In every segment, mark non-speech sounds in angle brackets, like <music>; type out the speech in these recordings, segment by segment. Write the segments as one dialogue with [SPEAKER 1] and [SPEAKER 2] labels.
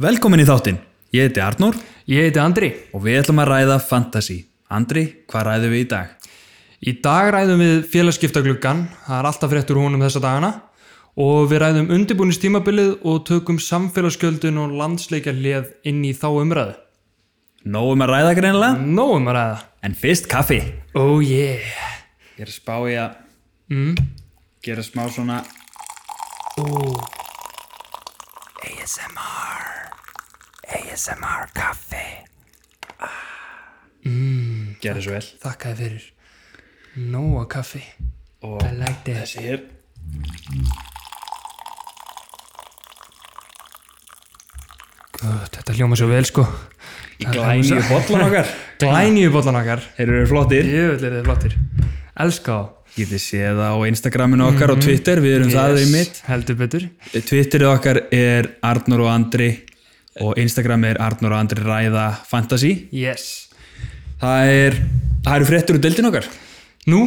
[SPEAKER 1] Velkomin í þáttinn, ég heiti Arnór
[SPEAKER 2] Ég heiti Andri.
[SPEAKER 1] og við ætlum að ræða fantasy. Andri, hvað ræðum við í dag?
[SPEAKER 2] Í dag ræðum við félagskiptagluggan, það er alltaf fréttur úr honum þessa dagana og við ræðum undirbúinistímabilið og tökum samfélagsgjöldin og landsleikjarlið inn í þá umræðu.
[SPEAKER 1] Nóum um að ræða greinilega,
[SPEAKER 2] Nóum að ræða.
[SPEAKER 1] en fyrst kaffi.
[SPEAKER 2] Oh yeah.
[SPEAKER 1] Ég er að spá í að
[SPEAKER 2] Mm.
[SPEAKER 1] gera smá svona
[SPEAKER 2] Oh.
[SPEAKER 1] ASMR, ASMR kaffi. Mm. Gerðu svo vel.
[SPEAKER 2] Þakkaði fyrir. Nóa kaffi.
[SPEAKER 1] Og
[SPEAKER 2] I like this.
[SPEAKER 1] þessi hér.
[SPEAKER 2] Oh, þetta hljóma svo vel sko.
[SPEAKER 1] Í glænýju bollan okkar.
[SPEAKER 2] Glænýju bollan okkar.
[SPEAKER 1] Þeir eru flottir.
[SPEAKER 2] Jöfnlega þið flottir. Elska þá.
[SPEAKER 1] Getið séð á Instagraminu okkar og Twitter, við erum það í mitt.
[SPEAKER 2] Heldur betur.
[SPEAKER 1] Twitterið okkar er Arnur og Andri og Instagram er Arnur og Andri ræða fantasy.
[SPEAKER 2] Yes.
[SPEAKER 1] Það er, það eru fréttur úr deildin okkar.
[SPEAKER 2] Nú?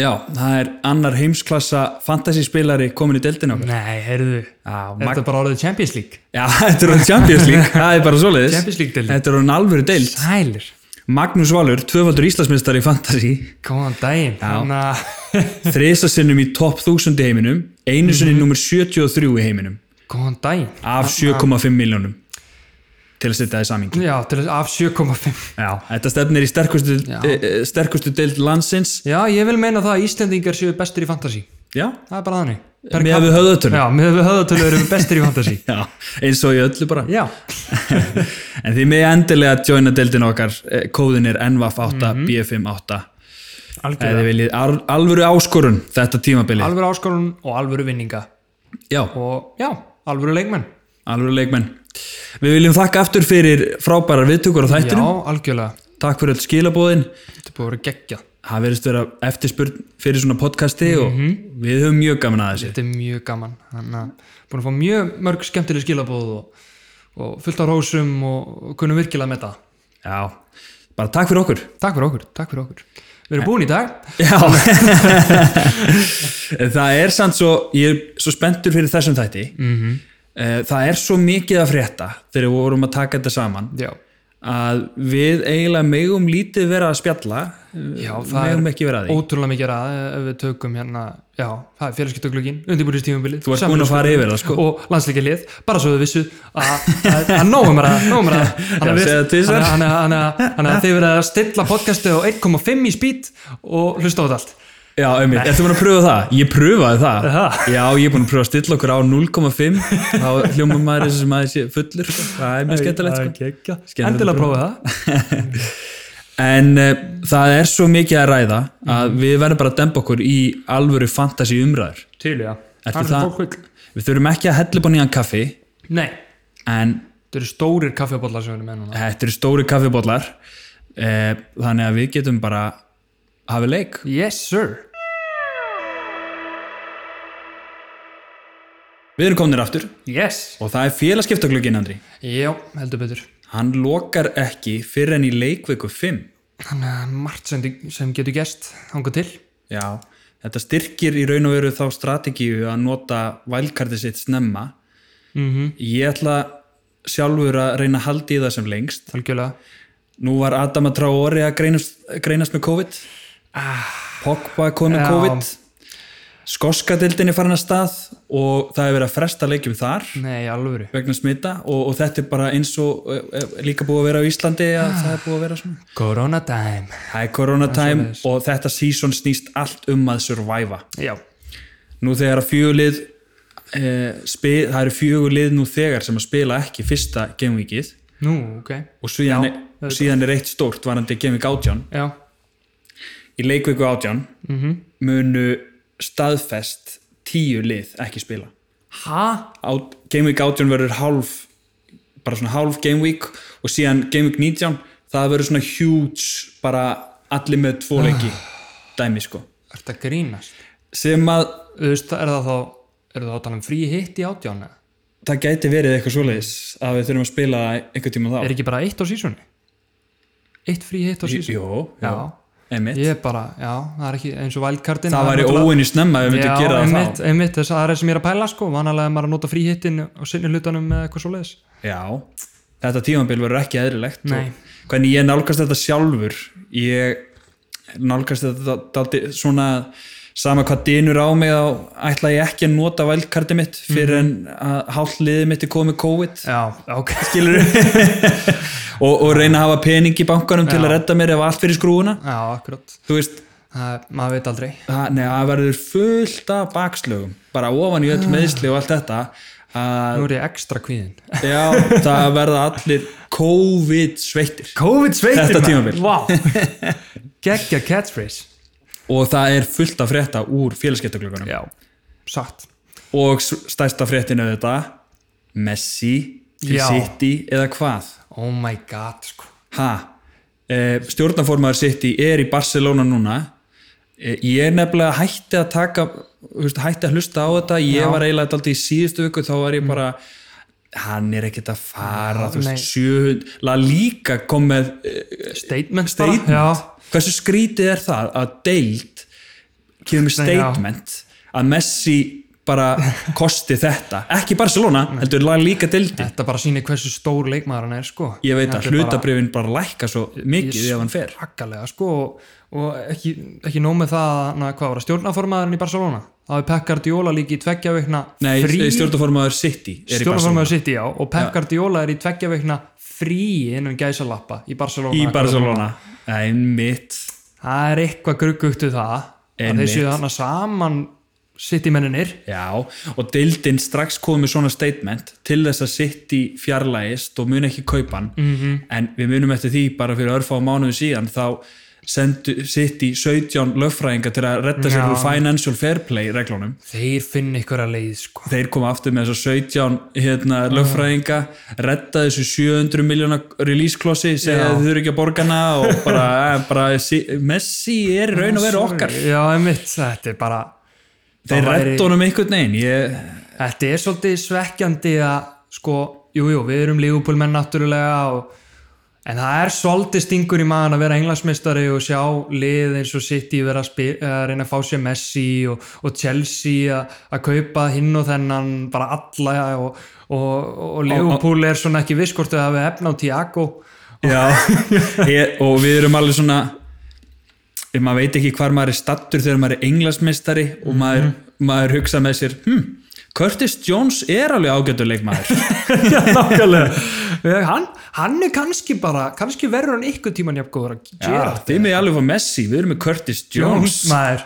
[SPEAKER 1] Já, það er annar heimsklassa fantasy spilari komin í deildin okkar.
[SPEAKER 2] Nei, heyrðu.
[SPEAKER 1] Já,
[SPEAKER 2] Þetta er bara orðið Champions League.
[SPEAKER 1] Já, <laughs> þetta er hann Champions
[SPEAKER 2] <laughs>
[SPEAKER 1] League, það er bara svoleiðis.
[SPEAKER 2] Champions League deildin.
[SPEAKER 1] Þetta er hann alvöru deild.
[SPEAKER 2] Sælir.
[SPEAKER 1] Magnús Valur, tvöfaldur Íslandsmeistar í fantasy,
[SPEAKER 2] Góðan daginn. Hérna, Þannig að...
[SPEAKER 1] þrisasinnum í topp 1000 í heiminum, einu
[SPEAKER 2] Mhm.
[SPEAKER 1] sinni mm 73 í heiminum,
[SPEAKER 2] <laughs> Góðan daginn.
[SPEAKER 1] af 7,5
[SPEAKER 2] ah.
[SPEAKER 1] miljónum til að setja það í samingi.
[SPEAKER 2] Já, til þess af 7,5.
[SPEAKER 1] Já, þetta stefnir í sterkustu,
[SPEAKER 2] Já.
[SPEAKER 1] e, e, sterkustu deild landsins.
[SPEAKER 2] Já, ég vil meina það að Íslendingar séu bestir í fantasy.
[SPEAKER 1] Já,
[SPEAKER 2] Það er bara þannig.
[SPEAKER 1] Miðað við höfðatölu.
[SPEAKER 2] Já, með við höðatölu erum við bestir í
[SPEAKER 1] <laughs>
[SPEAKER 2] fantasy.
[SPEAKER 1] já, eins og í öllu bara.
[SPEAKER 2] Já.
[SPEAKER 1] en því með endilega joina deildin okkar, eh, kóðin er NVAF8B58. Eða þið
[SPEAKER 2] Algjörða.
[SPEAKER 1] viljið al- alvöru áskorun þetta tímabilið.
[SPEAKER 2] Eh, Alvöru áskorun og alvöru vinninga.
[SPEAKER 1] já,
[SPEAKER 2] Og já, alvöru leikmenn.
[SPEAKER 1] alvöru leikmenn. Við viljum þakka aftur fyrir frábærar viðtökur á
[SPEAKER 2] Já,
[SPEAKER 1] þættinum.
[SPEAKER 2] algjörlega.
[SPEAKER 1] Takk fyrir öll skilabóðin.
[SPEAKER 2] Þetta er búið að vera geggjað.
[SPEAKER 1] Það verðist vera eftirspurn fyrir svona podcasti og við höfum mjög gaman að þessu.
[SPEAKER 2] Þetta er mjög gaman. Þannig að búin að fá mjög mörg skemmtileg skilabóð og, og fullt á rósum og, og kunum virkilega með það.
[SPEAKER 1] Já, bara takk fyrir okkur.
[SPEAKER 2] Takk fyrir okkur, takk fyrir okkur. Við erum búin í dag.
[SPEAKER 1] Já <laughs> Það er samt svo ég er svo spenntur fyrir þessum þætti -hmm. það er svo mikið að frétta þegar við vorum að taka þetta saman
[SPEAKER 2] Já,
[SPEAKER 1] að við eiginlega megum lítið vera að spjalla
[SPEAKER 2] já það
[SPEAKER 1] megum
[SPEAKER 2] er
[SPEAKER 1] ekki vera að því
[SPEAKER 2] ótrúlega mikið að ef við tökum hérna, já, það er félagskiptaglögin, undirbúinistífumbilið.
[SPEAKER 1] Þú varst búin að fara yfir það sko
[SPEAKER 2] og landsleikilegð, bara svo þau vissu að að- að nógum er að nógum er að
[SPEAKER 1] Já,
[SPEAKER 2] þannig að
[SPEAKER 1] segðu það
[SPEAKER 2] við-
[SPEAKER 1] tvisvar.
[SPEAKER 2] þannig að- þannig að- þannig að þið verða að stilla podcastið á 1,5 í spýt og hlusta á þetta allt
[SPEAKER 1] Já, auðvitað, ertu búin að pröfa það? Ég pröfaði það
[SPEAKER 2] Aha.
[SPEAKER 1] Já, ég er búin að pröfa að stilla okkur á 0,5 þá hljóma maður eins og maður sé fullur sko. það er mjög skemmtilegt sko.
[SPEAKER 2] sko.
[SPEAKER 1] Skemmtilegt
[SPEAKER 2] endilega
[SPEAKER 1] að
[SPEAKER 2] prófa það
[SPEAKER 1] En uh, það er svo mikið að ræða að við verðum bara að dempa okkur í alvöru fantasi umræður.
[SPEAKER 2] Til, já.
[SPEAKER 1] Ertu
[SPEAKER 2] Hann er
[SPEAKER 1] það-
[SPEAKER 2] fólk vill.
[SPEAKER 1] Við þurfum ekki að hella upp á nýjan kaffi
[SPEAKER 2] Nei,
[SPEAKER 1] en
[SPEAKER 2] þetta eru stórir kaffjabóllar sem við erum með núna.
[SPEAKER 1] þetta eru stóri kaffibóllar uh, þannig að við getum bara hafið leik.
[SPEAKER 2] Yes, sir.
[SPEAKER 1] Við erum komnir aftur
[SPEAKER 2] Yes.
[SPEAKER 1] og það er félagskiptaglögin Andri.
[SPEAKER 2] Já, heldur betur.
[SPEAKER 1] Hann lokar ekki fyrir enn í leikviku 5.
[SPEAKER 2] Þannig að margt sem, sem getur gerst hanga til.
[SPEAKER 1] Já. Þetta styrkir í raun og veru þá strategíu að nota vælkartið sitt snemma.
[SPEAKER 2] Mm -hmm.
[SPEAKER 1] Ég ætla sjálfur að reyna að haldi í það sem lengst
[SPEAKER 2] Algjörlega.
[SPEAKER 1] Nú var Adam að Traori að greinast, greinast með COVID Pogba er komið með
[SPEAKER 2] Já.
[SPEAKER 1] COVID Skoska dildin er farin að stað og það er verið að fresta leikjum þar
[SPEAKER 2] Nei, í alvöru.
[SPEAKER 1] vegna smita og, og þetta er bara eins og eh, eh, líka búið að vera á Íslandi að það er búið að vera svona
[SPEAKER 2] Corona time.
[SPEAKER 1] Það er corona time og þetta season snýst allt um að surviva
[SPEAKER 2] Já.
[SPEAKER 1] Nú þegar að fjögulið eh, spi, það eru fjögulið nú þegar sem að spila ekki fyrsta gamevikið
[SPEAKER 2] Nú, ok.
[SPEAKER 1] og síðan, er, síðan er eitt stórt varandi gamevík átján
[SPEAKER 2] Já.
[SPEAKER 1] í leikviku átján
[SPEAKER 2] Mhm.
[SPEAKER 1] munu staðfest tíu lið ekki spila
[SPEAKER 2] Ha?
[SPEAKER 1] Át, Game Week 18 verður hálf bara svona hálf Game Week og síðan Game Week 19 það verður svona huge bara allir með tvo leiki
[SPEAKER 2] Ah.
[SPEAKER 1] dæmi sko
[SPEAKER 2] Er þetta grínast?
[SPEAKER 1] sem að
[SPEAKER 2] Þú veist, er það þá, er það þá að tala um frí hitt í átjána?
[SPEAKER 1] það gæti verið eitthvað svoleiðis að við þurfum að spila einhver tíma þá
[SPEAKER 2] Er ekki bara eitt á sísunni? Eitt frí hitt á sísunni?
[SPEAKER 1] Jú, jú.
[SPEAKER 2] Já.
[SPEAKER 1] einmitt
[SPEAKER 2] ég er bara, já, það er ekki eins og valkartin
[SPEAKER 1] það væri óinni snemma ef við myndum gera það
[SPEAKER 2] einmitt, einmitt, þess, það er það sem ég er að pæla sko vanalega er maður að nota fríhittin og sinni hlutanum með eitthvað svo leiðis
[SPEAKER 1] þá já, þetta tímabil verður ekki eðrilegt
[SPEAKER 2] Nei.
[SPEAKER 1] Og hvernig ég nálgast þetta sjálfur ég nálgast þetta daldi, svona sama hvað dynur á mig þá ætla ég ekki að nota vældkarti mitt fyrir en að hálfliðið mitt er komið COVID
[SPEAKER 2] já, ok
[SPEAKER 1] skilur og, og reyna að hafa pening í bankanum til að redda mér ef allt fyrir skrúuna
[SPEAKER 2] já, akkurat,
[SPEAKER 1] þú veist,
[SPEAKER 2] það, maður veit aldrei
[SPEAKER 1] það, nei, það verður fullt af bakslögum bara ofan í öll meðsli og allt þetta að
[SPEAKER 2] nú er ég ekstra kvíðin
[SPEAKER 1] já, það verða allir COVID sveittir
[SPEAKER 2] COVID sveitir
[SPEAKER 1] Þetta tímabil.
[SPEAKER 2] maður. Vá. <laughs> geggja catchphrase
[SPEAKER 1] og það er fullt af frétta úr félagskeptaglökunum
[SPEAKER 2] já, satt
[SPEAKER 1] og s- stærsta fréttinu þetta Messi til
[SPEAKER 2] Já.
[SPEAKER 1] City eða hvað
[SPEAKER 2] oh my god, sko
[SPEAKER 1] ha, e, stjórnaformaður City er í Barcelona núna e, ég er nefnilega hætti að taka þú veist, hætti að hlusta á þetta ég
[SPEAKER 2] Já.
[SPEAKER 1] var eiginlega þetta aldrei í síðustu viku þá var ég bara hann er ekkert að fara þú
[SPEAKER 2] nei.
[SPEAKER 1] veist, sjöhund, laða líka kom með e,
[SPEAKER 2] statement,
[SPEAKER 1] Statement.
[SPEAKER 2] bara já,
[SPEAKER 1] hversu skrítið er það að deild kemur með
[SPEAKER 2] Nei, já.
[SPEAKER 1] statement að Messi
[SPEAKER 2] <laughs>
[SPEAKER 1] bara kosti þetta ekki Barcelona, heldur laga líka deildi
[SPEAKER 2] Þetta bara sýnir hversu stór leikmaður hann er sko.
[SPEAKER 1] ég veit að
[SPEAKER 2] Þetta er bara
[SPEAKER 1] hlutabrifin bara lækka svo mikið
[SPEAKER 2] Ég-
[SPEAKER 1] ef hann fer
[SPEAKER 2] hrakalega sko og- og ekki, ekki nóg með það að na, hvað var það, stjórnaformaðurinn í Barcelona það er Pep Guardiola líki í tveggja veikna
[SPEAKER 1] Nei, stjórnaformaður City er í Barcelona
[SPEAKER 2] stjórnaformaður sitt í á og Pep Guardiola er í tveggja veikna frí innum gæsalappa í Barcelona
[SPEAKER 1] í Barcelona einmitt
[SPEAKER 2] það er eitthvað gruggugt við það að
[SPEAKER 1] Einmitt.
[SPEAKER 2] þeir séu þarna saman sitt í menninir
[SPEAKER 1] já, og deildin strax komið svona statement til þess að City fjarlægist og mun ekki kaupa hann
[SPEAKER 2] Mhm.
[SPEAKER 1] -hmm. en við munum eftir því bara fyrir örfá mánuðu síðan þá sendu City 17 lögfræðinga til að redda sér
[SPEAKER 2] Já.
[SPEAKER 1] úr financial fair play reglunum
[SPEAKER 2] þeir finn einhverja leið sko
[SPEAKER 1] þeir koma aftur með þess 17 hérna, lögfræðinga, redda þessu 700 miljóna release klossi segja
[SPEAKER 2] Já.
[SPEAKER 1] að þau eru ekki að borga hana og
[SPEAKER 2] <laughs>
[SPEAKER 1] bara, eh, bara Si- Messi er í raun og veru okkar
[SPEAKER 2] já, einmitt, þetta er bara
[SPEAKER 1] þeir
[SPEAKER 2] það væri-
[SPEAKER 1] redda honum einhvern veginn ég,
[SPEAKER 2] Þetta er svolítið svekkjandi að sko, jú, jú, við erum Liverpool menn náttúrulega og en það er svolítið stingur í maðan að vera englansmeistari og sjá lið eins og City vera að, spi, að reyna að fá sér Messi og, og Chelsea að- að kaupa hinn og þennan bara alla og, og, og Liverpool er svona ekki viss hvort þau hafi efna á Tiago
[SPEAKER 1] Já, <laughs> ég, og við erum alveg svona ef maður veit ekki hvar maður er stattur þegar maður er englasmeistari
[SPEAKER 2] Mhm.
[SPEAKER 1] og maður, maður hugsa með sér hm, Curtis Jones er alveg ágættur
[SPEAKER 2] <laughs>
[SPEAKER 1] leikmaður
[SPEAKER 2] Já, nákvæmlega <laughs> hann, hann er kannski bara, kannski verður hann ykkur tíman jafn góður að gera
[SPEAKER 1] Já, þið með alveg fá Messi, við erum með Curtis Jones
[SPEAKER 2] maður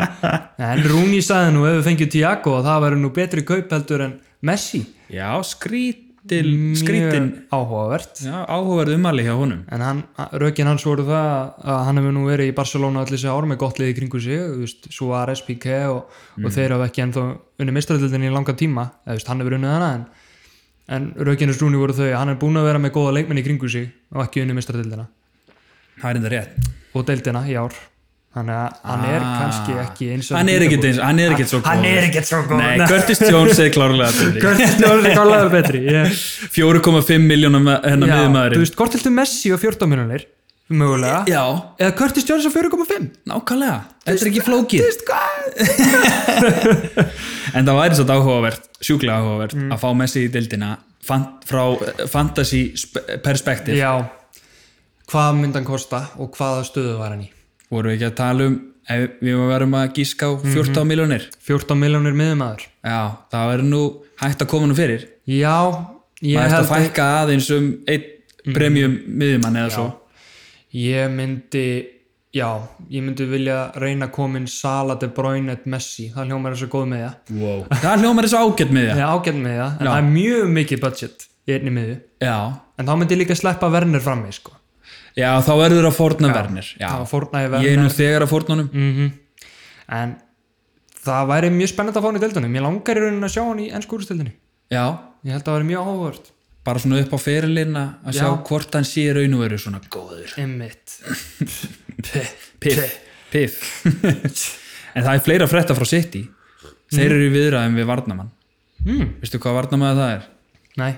[SPEAKER 2] <laughs> en Rúni sagði nú ef við fengjum Tiago að það væri nú betri kaup heldur en Messi
[SPEAKER 1] Já, skrítil, skrítin
[SPEAKER 2] Mjög áhugavert
[SPEAKER 1] Já, áhugaverð umali hjá honum
[SPEAKER 2] en hann, rökin hans voru það að hann hefur nú verið í Barcelona allir þessi ár með gott liði kringu sig þú veist, Suárez, Piqué og, og þeir hafa ekki ennþá unni mistralildin í langan tíma eða þú veist, hann hefur unnið hana en, en rökin hans Rúni voru þau að hann er búin að vera með góða leikmenn í kringu sig og ekki unni mistralildina
[SPEAKER 1] Það er enda rétt
[SPEAKER 2] og deildina í ár þannig að hann er kannski Ah. ekki eins og
[SPEAKER 1] Ah.
[SPEAKER 2] Ah,
[SPEAKER 1] Hann er ekkert eins, hann er ekkert svo
[SPEAKER 2] hann
[SPEAKER 1] góður.
[SPEAKER 2] er ekkert svo góð <laughs>
[SPEAKER 1] Nei, Curtis Jones er klárlega betri.
[SPEAKER 2] Curtis Jones er klálega betri ég,
[SPEAKER 1] 4,5 miljónum hennar
[SPEAKER 2] já, þú
[SPEAKER 1] miðumæðurinn
[SPEAKER 2] veist, hvort heldur Messi og 14 miljonir mögulega,
[SPEAKER 1] Já,
[SPEAKER 2] eða Curtis Jones og 4,5
[SPEAKER 1] nákvæmlega, þetta er ekki flókið
[SPEAKER 2] Þú veist hvað?
[SPEAKER 1] En það væri svolítið áhugavert, sjúklega áhugavert að fá Messi í dildina fant, frá eh, fantasy sp- perspektiv
[SPEAKER 2] já, hvað myndan kosta og hvaða stöðu var hann í
[SPEAKER 1] voru við ekki að tala um ef við verðum að gíska á 14 mm
[SPEAKER 2] 14 miljonir miðumæður
[SPEAKER 1] Já, það verður nú hægt að koma nú fyrir
[SPEAKER 2] já,
[SPEAKER 1] maður
[SPEAKER 2] ég
[SPEAKER 1] eftir að
[SPEAKER 2] held
[SPEAKER 1] fækka aðeins um einn premium miðjumann eða svo
[SPEAKER 2] ég myndi já, ég myndi vilja reyna að komin Salah de Bruyne et Messi það hljómar þessu góð með það
[SPEAKER 1] wow. það hljómar þessu ágætt miðja
[SPEAKER 2] Það
[SPEAKER 1] Já,
[SPEAKER 2] er ágætt með það, en það er mjög mikið budget í einni miðu,
[SPEAKER 1] já,
[SPEAKER 2] en þá myndi ég líka sleppa Werner frammi, sko.
[SPEAKER 1] þá verður að forna vernir Já,
[SPEAKER 2] Þá fórnaði Werner.
[SPEAKER 1] ég er nú þegar að forna honum
[SPEAKER 2] en það væri mjög spennandi að fá hann í deildunum ég langar í rauninni að sjá hann í ennskúrustildinni
[SPEAKER 1] Já,
[SPEAKER 2] ég held að það væri mjög áhugavert
[SPEAKER 1] bara svona upp á ferilinn að- að sjá
[SPEAKER 2] Já.
[SPEAKER 1] hvort hann sé raun og veru svona góður
[SPEAKER 2] Emmitt
[SPEAKER 1] Piff, piff. en það er fleira frétta frá City þeir eru í viðræðum við Varnamann
[SPEAKER 2] mm.
[SPEAKER 1] veistu hvað Varnamann það er?
[SPEAKER 2] nei,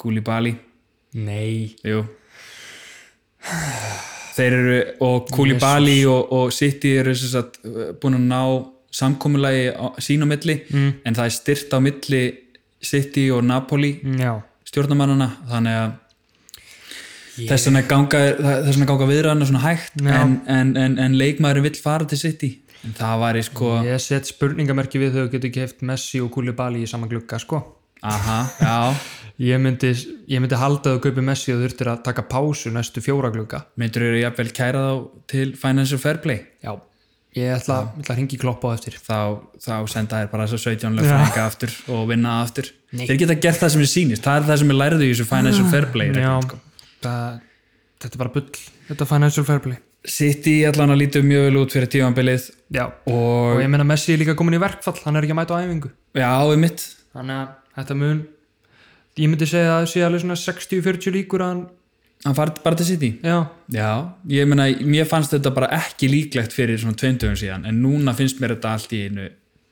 [SPEAKER 1] Kúli Bali
[SPEAKER 2] nei
[SPEAKER 1] Jú. þeir eru og Koulibaly og, og City eru sem sagt, uh, búin að ná samkomulagi á- sín á milli mm. en það er styrt á milli City og Napoli
[SPEAKER 2] já,
[SPEAKER 1] stjórnarmannana þannig að þess vegna ganga, þess vegna ganga viðræðan svona hægt
[SPEAKER 2] Já.
[SPEAKER 1] en, en, en, en leikmaðurinn vill fara til City en það væri sko
[SPEAKER 2] ég set spurningamerki við þau getur keft Messi og Koulibaly í saman glugga sko
[SPEAKER 1] aha, já,
[SPEAKER 2] ég myndi, ég myndi halda að þau kaupi Messi og þurftir að taka pásu næstu fjóra glugga
[SPEAKER 1] myndur eru jafnvel kæra þá til Financial Fair Play
[SPEAKER 2] já, ég ætla, ég ætla að ringi klopp á eftir
[SPEAKER 1] þá, þá senda þær bara þess að 17 lögfræðinga aftur og vinna aftur
[SPEAKER 2] Nei.
[SPEAKER 1] þeir geta gert það sem er sýnist, það er það sem er lærðu í þessu Financial Fair Play
[SPEAKER 2] Ah, já,
[SPEAKER 1] reglum, sko.
[SPEAKER 2] það, þetta er bara bull þetta er financial fair play
[SPEAKER 1] City allan að lítu mjög vel út fyrir tífambilið
[SPEAKER 2] já,
[SPEAKER 1] og
[SPEAKER 2] og ég meina Messi er líka komin í verkfall hann er ekki að mæta á æfingu
[SPEAKER 1] já, við mitt
[SPEAKER 2] þannig að þetta mun ég myndi segja að það sé alveg svona 60-40 líkur að hann,
[SPEAKER 1] hann farið bara til City
[SPEAKER 2] já,
[SPEAKER 1] já, ég meina, mér fannst þetta bara ekki líklegt fyrir svona tveimtöfum síðan en núna finnst mér þetta allt í einu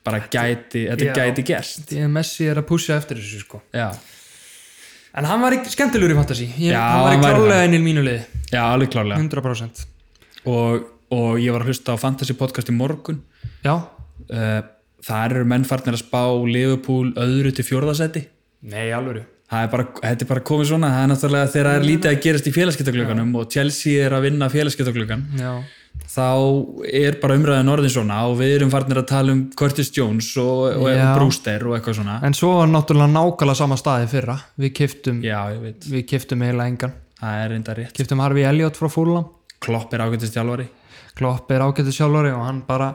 [SPEAKER 1] bara gæti, þetta
[SPEAKER 2] Já.
[SPEAKER 1] gæti gerst
[SPEAKER 2] því að Messi er að púsja eftir þessu sko
[SPEAKER 1] já,
[SPEAKER 2] en hann var ekki skemmtilegur í fantasi ég,
[SPEAKER 1] Já,
[SPEAKER 2] hann var
[SPEAKER 1] hann
[SPEAKER 2] ekki
[SPEAKER 1] væri
[SPEAKER 2] klálega inn í mínu liði
[SPEAKER 1] já, alveg klárlega
[SPEAKER 2] 100%
[SPEAKER 1] og, og ég var að hlusta á Fantasy Podcast í morgun
[SPEAKER 2] já,
[SPEAKER 1] uh, þar eru menn farnir að spá Liverpool öðru til fjórðasetti
[SPEAKER 2] nei alveg
[SPEAKER 1] það er bara, þetta er bara komið svona það er náttúrulega þegar það er lítið að gerast í félagskiptaglöganum og Chelsea er að vinna félagskiptaglögan
[SPEAKER 2] já,
[SPEAKER 1] þá er bara umræðan orðin svona og við erum farnir að tala um Curtis Jones og, og
[SPEAKER 2] Já.
[SPEAKER 1] Brewster og eitthvað svona
[SPEAKER 2] En svo var náttúrulega nákvæmlega sama staði í fyrra. Við kiftum,
[SPEAKER 1] já, ég veit,
[SPEAKER 2] við kiftum eiginlega engan.
[SPEAKER 1] það er reynda rétt
[SPEAKER 2] Kiftum Harfi Elliot frá Fúlam.
[SPEAKER 1] Klopp er ágættist þjálfari
[SPEAKER 2] Klopp er ágætið sjálfari og hann bara,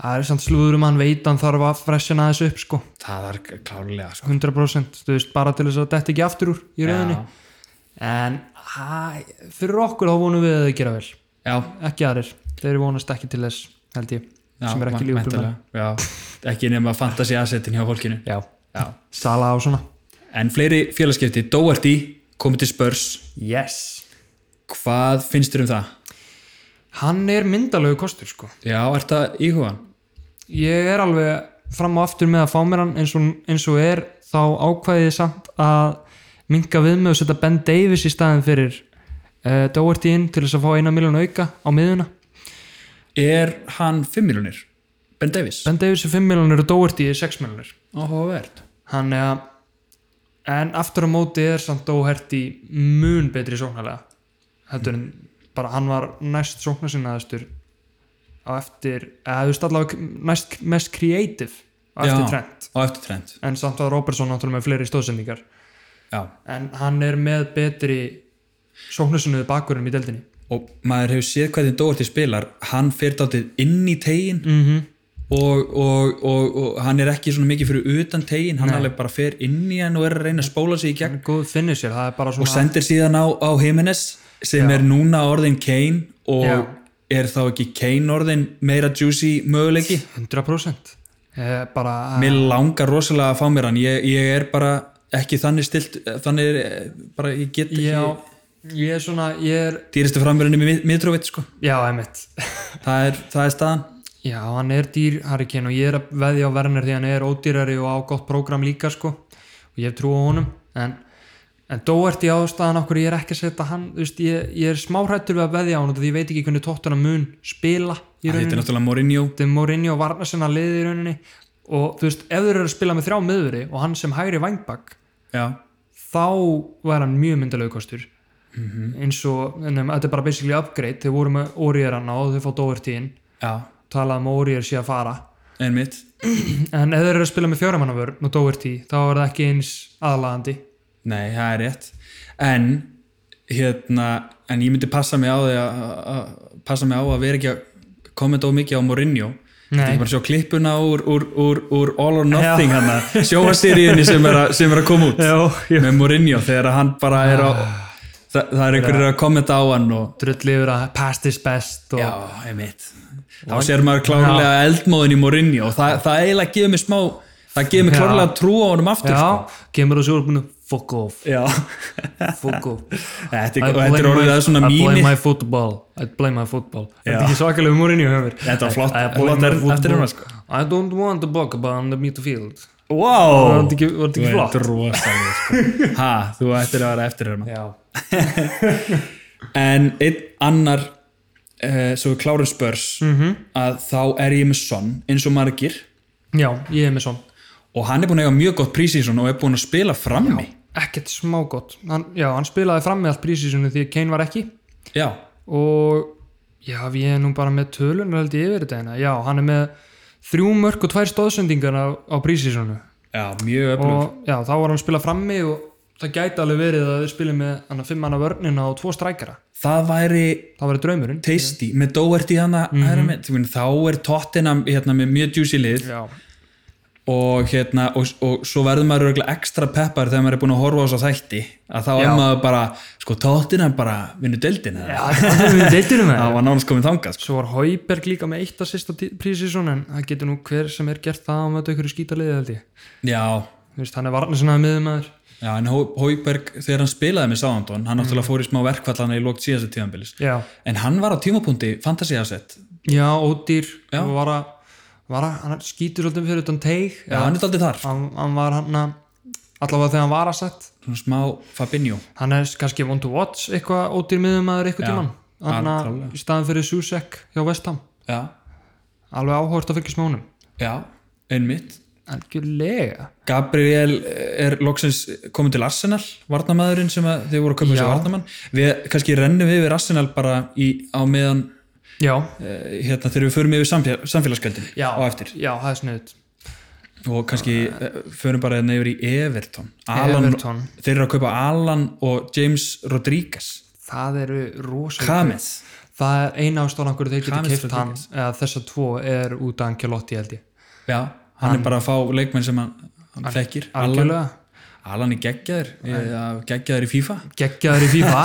[SPEAKER 2] það er samt slúður um hann veit hann þarf að freshina þessu upp sko.
[SPEAKER 1] það er klárlega sko.
[SPEAKER 2] 100%. Þú veist, bara til þess að þetta ekki aftur úr í rauninni.
[SPEAKER 1] Já.
[SPEAKER 2] En hæ, fyrir okkur þá vonum við að þau gera vel.
[SPEAKER 1] já,
[SPEAKER 2] Ekki aðrir. Þeir vonast ekki til þess, held ég.
[SPEAKER 1] já,
[SPEAKER 2] sem er ekki
[SPEAKER 1] vænt-
[SPEAKER 2] lífbúl
[SPEAKER 1] væntanlega. já, ekki nema fantasy assetin hjá fólkinu
[SPEAKER 2] Já.
[SPEAKER 1] já.
[SPEAKER 2] Sala á svona.
[SPEAKER 1] en fleiri félagskipti, Doherty komið til spörs
[SPEAKER 2] Yes.
[SPEAKER 1] Hvað finnst þér um það?
[SPEAKER 2] Hann er myndalögu kostur sko.
[SPEAKER 1] Já, er það íhugan?
[SPEAKER 2] ég er alveg fram og aftur með að fá mér hann eins og, eins og er þá ákvæði ég samt að minka við mig og setja Ben Davis í staðin fyrir uh, Doherty inn til þess að fá eina miljón auka á miðuna
[SPEAKER 1] Er hann 5 miljonir? Ben Davis?
[SPEAKER 2] Ben Davis er 5 miljónir og Doherty er 6 miljónir
[SPEAKER 1] Áhugavert.
[SPEAKER 2] hann er að en aftur á móti er samt Doherty mun betri sóknarlega heldur en bara hann var næst sóknarsinnaðastur á eftir, eða þú veist allavega næst mest creative á eftir
[SPEAKER 1] Já.
[SPEAKER 2] trend
[SPEAKER 1] Og eftir trend.
[SPEAKER 2] en samt að Robertson náttúrulega með fleiri stóðsendingar
[SPEAKER 1] Já.
[SPEAKER 2] en hann er með betri sóknarsinnuðu bakurum í deldinni
[SPEAKER 1] Og maður hefur séð hvernig Doherty spilar, hann fyrir dátið inn í tegin
[SPEAKER 2] mm -hmm.
[SPEAKER 1] og, og, og, og hann er ekki svona mikið fyrir utan tegin, hann
[SPEAKER 2] Nei.
[SPEAKER 1] alveg bara fer inn í hann og er að reyna að spóla sig í gegn
[SPEAKER 2] hann er góð finisher, það er bara
[SPEAKER 1] og
[SPEAKER 2] svona
[SPEAKER 1] sendir síðan á, á Jimenez sem
[SPEAKER 2] Já.
[SPEAKER 1] er núna orðin Kane og
[SPEAKER 2] Já.
[SPEAKER 1] er þá ekki Kane orðin meira juicy möguleiki?
[SPEAKER 2] 100% eh, bara
[SPEAKER 1] Mér langar rosalega að fá mér hann ég, ég er bara ekki þannig stilt þannig er eh, bara ég get ekki
[SPEAKER 2] já, ég er svona ég er,
[SPEAKER 1] dýristu framverðinni með mitróvitt sko
[SPEAKER 2] já, emitt <laughs>
[SPEAKER 1] það er, það er staðan
[SPEAKER 2] já, hann er dýr Harry Kane og ég er að veðja á Werner því hann er ódýrari og á gott prógram líka sko og ég hef trú á honum en, en Doherty ástæðan okkur ég er ekki að setja hann, þú veist, ég, ég er smáhrættur við að veðja á hann því ég veit ekki hvernig tóttuna mun spila í
[SPEAKER 1] það
[SPEAKER 2] rauninni
[SPEAKER 1] heitir náttúrulega Mourinho
[SPEAKER 2] Þetta er Mourinho varna sinna liði í rauninni og þú veist, ef þeir eru að spila með þrjá miðveri og hann sem hægri vangbak
[SPEAKER 1] já,
[SPEAKER 2] þá var hann mjög myndalegu kostur eins og, nefnum, þetta er bara basically upgrade, þeir voru með Orier hann og þau fá Doherty inn,
[SPEAKER 1] já,
[SPEAKER 2] talað um að Orier sé að fara,
[SPEAKER 1] einmitt
[SPEAKER 2] en ef þeir eru að spila með fjóramannavörn og Doherty, þá er það ekki eins aðlaðandi,
[SPEAKER 1] nei, það er rétt en hérna, en ég myndi passa mig á því að að- passa mig á að vera ekki að kommenta of mikið á Mourinho
[SPEAKER 2] Nei.
[SPEAKER 1] Ég bara sjá klippuna úr, úr, úr, úr All or Nothing hann að sjóaseríunni sem, er að- sem er að koma út
[SPEAKER 2] Já, já. Ah.
[SPEAKER 1] með Mourinho þegar að hann bara er á það, það er einhverjir að kommenta á hann og
[SPEAKER 2] drull yfir að past is best og
[SPEAKER 1] Já, einmitt Þá sér maður klárlega eldmóðin í Mourinho og það, það eiginlega gefur mér smá það gefur mér
[SPEAKER 2] Já.
[SPEAKER 1] klárlega trú á honum aftur sko.
[SPEAKER 2] Já, kemur á sjórbunu, fuck off,
[SPEAKER 1] Já. <laughs>
[SPEAKER 2] fuck off.
[SPEAKER 1] þetta,
[SPEAKER 2] I
[SPEAKER 1] er, þetta er
[SPEAKER 2] blame
[SPEAKER 1] orðið
[SPEAKER 2] my-
[SPEAKER 1] að svona
[SPEAKER 2] I blame
[SPEAKER 1] mínir
[SPEAKER 2] my football I blame my football Þetta
[SPEAKER 1] Já.
[SPEAKER 2] er ekki svakalegu múrin í höfur
[SPEAKER 1] Þetta var flott-
[SPEAKER 2] I, I blame
[SPEAKER 1] flott
[SPEAKER 2] my
[SPEAKER 1] er-
[SPEAKER 2] football.
[SPEAKER 1] eftir hérna, sko.
[SPEAKER 2] I don't want the bug about the meat field Var
[SPEAKER 1] Wow
[SPEAKER 2] þetta ekki, var
[SPEAKER 1] Þú
[SPEAKER 2] þetta ekki
[SPEAKER 1] ert
[SPEAKER 2] flott? <laughs>
[SPEAKER 1] rosalega sko. Ha, þú ættir að vera eftir hérna
[SPEAKER 2] Já
[SPEAKER 1] en einn annar uh, svo við klárum spörs
[SPEAKER 2] Mhm.
[SPEAKER 1] -hmm. að þá er ég með Son eins og margir
[SPEAKER 2] já, ég er með svo
[SPEAKER 1] og hann er búin að eiga mjög gott prísísun og er búin að spila frammi
[SPEAKER 2] ekkert smá gott hann, já, hann spilaði fram með allt prísísunum því að Kane var ekki
[SPEAKER 1] já,
[SPEAKER 2] og já, við erum nú bara með tölunar held ég yfir þetta hérna. já, hann er með þrjú mörg og tvær stóðsendingar á, á prísísonu
[SPEAKER 1] já, mjög öflug
[SPEAKER 2] og já, þá var hann að spila frammi og það gæti alveg verið að þeir spila með hann að fimm manna vörnina og tvo strækara
[SPEAKER 1] það væri
[SPEAKER 2] það var draumurinn
[SPEAKER 1] tasty, með Doherty hann
[SPEAKER 2] Mhm.
[SPEAKER 1] mm -hmm. þá er Tottenham hérna, með mjög juicy lið
[SPEAKER 2] já,
[SPEAKER 1] og, hérna, og, og svo verður maður örugglega ekstra peppar þegar maður er búin að horfa á þess þætti að þá er
[SPEAKER 2] Já.
[SPEAKER 1] maður bara, sko Tottenham bara vinnu deildin
[SPEAKER 2] já
[SPEAKER 1] eða
[SPEAKER 2] það er við deiltunum með
[SPEAKER 1] það var nánast komið þangað sko.
[SPEAKER 2] Svo var Hauberg líka með eitt að sista prísísón en það getur nú hver sem er gert það á mötu ykkur skítaliði held ég.
[SPEAKER 1] já,
[SPEAKER 2] Þú veist, hann er varnarsnaði miðum aður.
[SPEAKER 1] já, en Hóiberg þegar hann spilaði með Sáðandón, hann náttúrulega fór í smá verkvallana í lókt síðasta tíðanbilis
[SPEAKER 2] Já.
[SPEAKER 1] en hann var á tímapunkti fantasy asset já,
[SPEAKER 2] Já, ódýr.
[SPEAKER 1] Já.
[SPEAKER 2] og Var að, var að, hann skýtur svolítið fyrir utan teig.
[SPEAKER 1] hann er daldið þar,
[SPEAKER 2] Hann, hann var hann að, allavega þegar hann var að sett.
[SPEAKER 1] svona smá Fabinho
[SPEAKER 2] Hann er kannski one to watch eitthvað ódýr miðum aður eitthvað
[SPEAKER 1] Já,
[SPEAKER 2] tíman. Hann að,
[SPEAKER 1] algjörlega.
[SPEAKER 2] í staðan fyrir Susek hjá Vestham.
[SPEAKER 1] já,
[SPEAKER 2] Alveg áhört að fylgjast með honum.
[SPEAKER 1] já, einmitt
[SPEAKER 2] Algjörlega.
[SPEAKER 1] Gabriel eh, er loksins komin til Arsenal, varnamæðurinn sem að þið voru að koma
[SPEAKER 2] Já.
[SPEAKER 1] þessu varnamann við kannski rennum við við Arsenal bara í, á meðan
[SPEAKER 2] Já.
[SPEAKER 1] eh, hérna, þegar við förum yfir samfél, samfélagsgjöldin
[SPEAKER 2] Já.
[SPEAKER 1] á eftir
[SPEAKER 2] Já, það er sniðut.
[SPEAKER 1] og kannski uh, förum bara hérna yfir í Everton, Alan,
[SPEAKER 2] Everton.
[SPEAKER 1] þeir eru að kaupa Alan og James Rodríguez
[SPEAKER 2] Það eru rosalega
[SPEAKER 1] Kames,
[SPEAKER 2] Það er eina ástofan okkur þeir geta
[SPEAKER 1] James
[SPEAKER 2] keift hann eða þessa tvo er út af Angelotti held ég
[SPEAKER 1] já, hann er bara að fá leikmenn sem hann, hann þekkir Alan,
[SPEAKER 2] algjörlega,
[SPEAKER 1] Alan er geggjaður eh, geggjaður í FIFA
[SPEAKER 2] geggjaður í FIFA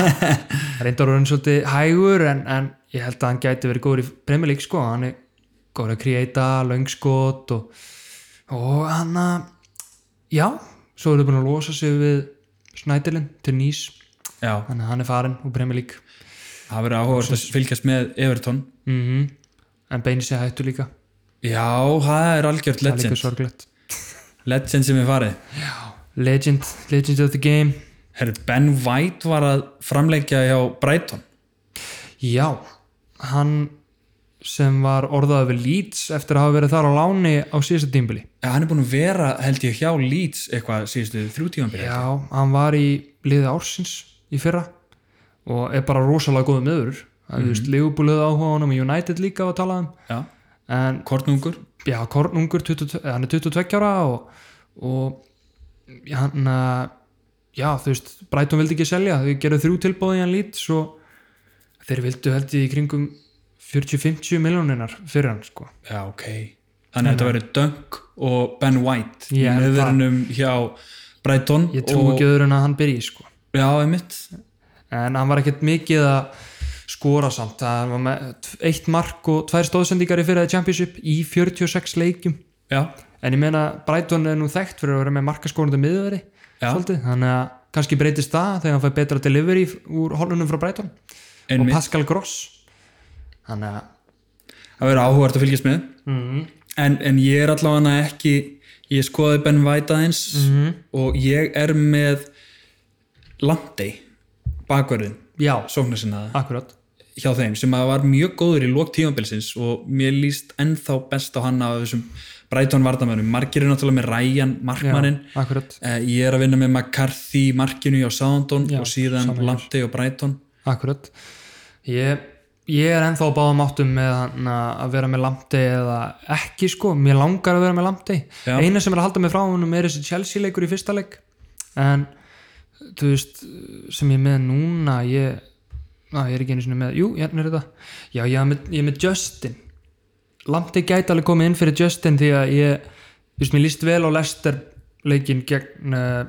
[SPEAKER 2] reyndar orðin svolítið hægur en, en ég held að hann gæti verið góður í Premier League sko, hann er góður að kreita löngskot og, og hann að já, svo eru búin að losa sig við Snædelin til Nýs
[SPEAKER 1] já,
[SPEAKER 2] þannig að hann er farinn úr Premier League
[SPEAKER 1] það verður áhugað að fylgjast með Everton
[SPEAKER 2] mm en Beini sé hættu líka
[SPEAKER 1] Já, það er algjört
[SPEAKER 2] það er líka
[SPEAKER 1] legend
[SPEAKER 2] sorglegt
[SPEAKER 1] Legend sem er farið
[SPEAKER 2] Legend, Legend of the Game
[SPEAKER 1] Herru, Ben White var að framleggja hjá Brighton
[SPEAKER 2] Já, hann sem var orðaði við Leeds eftir að hafa verið þar á láni á síðasta tímbili.
[SPEAKER 1] Já, hann er búin að vera, held ég, hjá Leeds eitthvað síðustu þrjú tímanbyrja
[SPEAKER 2] Já, hann var í liði ársins í fyrra og er bara rosalega góð meður. Það er veist legubúlið áhuga á honum og United líka var að tala um.
[SPEAKER 1] Já,
[SPEAKER 2] En
[SPEAKER 1] Kornungur
[SPEAKER 2] já, Kornungur, 22, eh, hann er 22 ára og, og hann, eh, já, þú veist, Brighton vildi ekki selja. Þau gerðu þrjú tilbóði í hann Leeds og þeir vildu held ég í kringum 40-50 miljóninar fyrir hann, sko.
[SPEAKER 1] Já, ok Þannig að þetta verður Dunk og Ben White í
[SPEAKER 2] Ég held það.
[SPEAKER 1] meðverunum hjá Brighton
[SPEAKER 2] Ég trú ekki öðru en að hann byrji sko.
[SPEAKER 1] Já, einmitt
[SPEAKER 2] En hann var ekkert mikið að skora samt. Það var með tv- eitt mark og tvær stóðsendingar í fyrraði Championship í 46 leikjum.
[SPEAKER 1] Já,
[SPEAKER 2] En ég meina Brighton er nú þekkt fyrir að vera með markaskorundu miðveri.
[SPEAKER 1] Já.
[SPEAKER 2] Svolítið. Þannig að kannski breytist það þegar hann fær betra delivery f- úr holunum frá Brighton. Og
[SPEAKER 1] einmitt
[SPEAKER 2] Pascal Gross. Þannig að
[SPEAKER 1] Það verður áhugart að fylgjast með
[SPEAKER 2] Mhm.
[SPEAKER 1] en, en ég er allavega ekki Ég skoði Ben White aðeins
[SPEAKER 2] Mhm.
[SPEAKER 1] og ég er með Landey bakverðin
[SPEAKER 2] já,
[SPEAKER 1] sóknarsinnaða
[SPEAKER 2] akkurat.
[SPEAKER 1] hjá þeim sem að var mjög góður í lók tímabilsins og mér líst ennþá best á hann af þessum Brighton vartamönnum margir er náttúrulega með Ryan
[SPEAKER 2] Já,
[SPEAKER 1] markmannin
[SPEAKER 2] akkurat.
[SPEAKER 1] Eh, ég er að vinna með McCarthy í markinu hjá Soundon
[SPEAKER 2] Já,
[SPEAKER 1] og síðan
[SPEAKER 2] sama hér.
[SPEAKER 1] Lamptey og Brighton
[SPEAKER 2] Akkurat Ég, ég er ennþá á báðum áttum með hann að að vera með Lamptey eða ekki sko, mér langar að vera með Lamptey
[SPEAKER 1] Já.
[SPEAKER 2] Eina sem er að halda mig frá honum er þessi Chelsea leikur í fyrsta leik en þú veist sem ég er með núna ég, á, ég er ekki einu sinni með, jú, hérna er þetta Já, ég er með, ég er með Justin Lamptey gæti alveg komið inn fyrir Justin því að ég, þú veist, mér líst vel á Lester leikin gegn uh,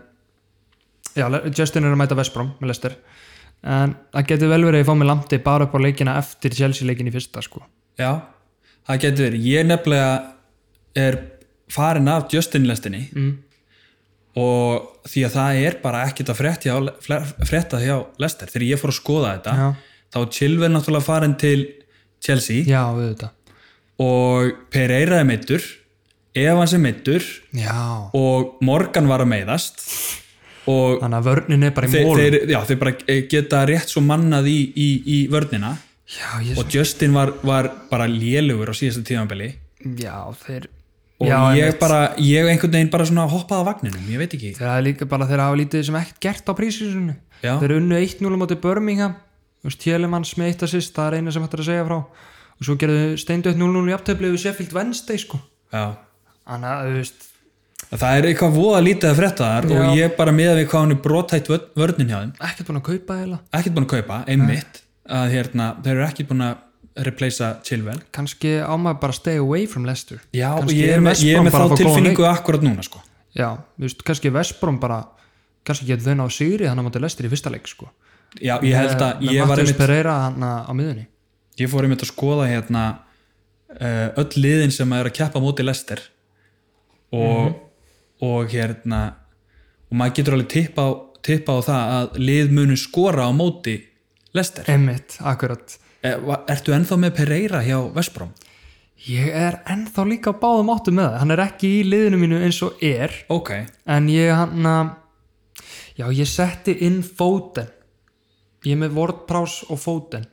[SPEAKER 2] Já, Le- Justin er að mæta Vesprom með Lester en það getur vel verið að ég fá mig langt bara upp á leikina eftir Chelsea leikin í fyrsta sko.
[SPEAKER 1] já, það getur verið ég nefnilega er farin af Justin lestinni mm. og því að það er bara ekkert að frétta hjá, frétta hjá Lester þegar ég fór að skoða þetta
[SPEAKER 2] Já.
[SPEAKER 1] þá Chilver náttúrulega farin til Chelsea
[SPEAKER 2] Já, við þetta
[SPEAKER 1] og Pereira er meittur Evans er meittur
[SPEAKER 2] Já,
[SPEAKER 1] og Morgan var að meiðast og
[SPEAKER 2] þannig að vörnin er bara í
[SPEAKER 1] þeir,
[SPEAKER 2] mólum
[SPEAKER 1] þeir, já, þeir bara eh, geta rétt svo mannað í, í, í vörnina
[SPEAKER 2] já, ég,
[SPEAKER 1] og Justin var, var bara lélugur á síðasta tímanbili
[SPEAKER 2] já, þeir
[SPEAKER 1] og
[SPEAKER 2] já,
[SPEAKER 1] ég
[SPEAKER 2] einmitt.
[SPEAKER 1] bara, ég einhvern veginn bara svona hoppaði á vagninum, ég veit ekki
[SPEAKER 2] þeir hafa líka bara þeir hafa lítið sem ekkert gert á prísisunni
[SPEAKER 1] Já.
[SPEAKER 2] þeir unnu 1-0 á móti Birmingham Þú veist, Tjelemanns með eitt assist, það er eina sem hægt er að segja frá og svo gerðu steindöð 0-0 í aftöfli við Sheffield Wednesday sko
[SPEAKER 1] já.
[SPEAKER 2] þannig að þú veist
[SPEAKER 1] það er eitthvað voða lítið að frétta þar og ég bara miðað við hvað hann er brotætt vörn- vörnin hjá þeim
[SPEAKER 2] ekkert búin að kaupa eða
[SPEAKER 1] ekkert búin að kaupa, einmitt að hérna, þeir eru ekkert búin að replacea Chilwell
[SPEAKER 2] kannski á maður bara að stay away from Leicester
[SPEAKER 1] já, og
[SPEAKER 2] Kannski
[SPEAKER 1] ég
[SPEAKER 2] er
[SPEAKER 1] er með,
[SPEAKER 2] West
[SPEAKER 1] ég er
[SPEAKER 2] Brom
[SPEAKER 1] með
[SPEAKER 2] bara að
[SPEAKER 1] þá
[SPEAKER 2] fá góðan
[SPEAKER 1] tilfinningu akkurat núna sko
[SPEAKER 2] já, þú veist, kannski Vesbrom bara kannski getur þau náðu sigri þannig að maður Leicester í fyrsta leik sko Eh,
[SPEAKER 1] já, ég held að
[SPEAKER 2] með
[SPEAKER 1] ég, var
[SPEAKER 2] Matheus
[SPEAKER 1] einmitt,
[SPEAKER 2] Pereira hann á miðunni
[SPEAKER 1] ég fór einmitt að skoða hérna uh, öll liðin sem er að keppa á móti Lester og, og hérna og maður getur alveg tippa á, tippa á það að lið munu skora á móti Lester
[SPEAKER 2] Emmitt, akkurat
[SPEAKER 1] er, ertu ennþá með Pereira hjá Vesbrom?
[SPEAKER 2] ég er ennþá líka á báðum áttum með það hann er ekki í liðinu mínu eins og er
[SPEAKER 1] ok,
[SPEAKER 2] en ég hann að já, ég setti inn fóten ég er með wordprás og fóten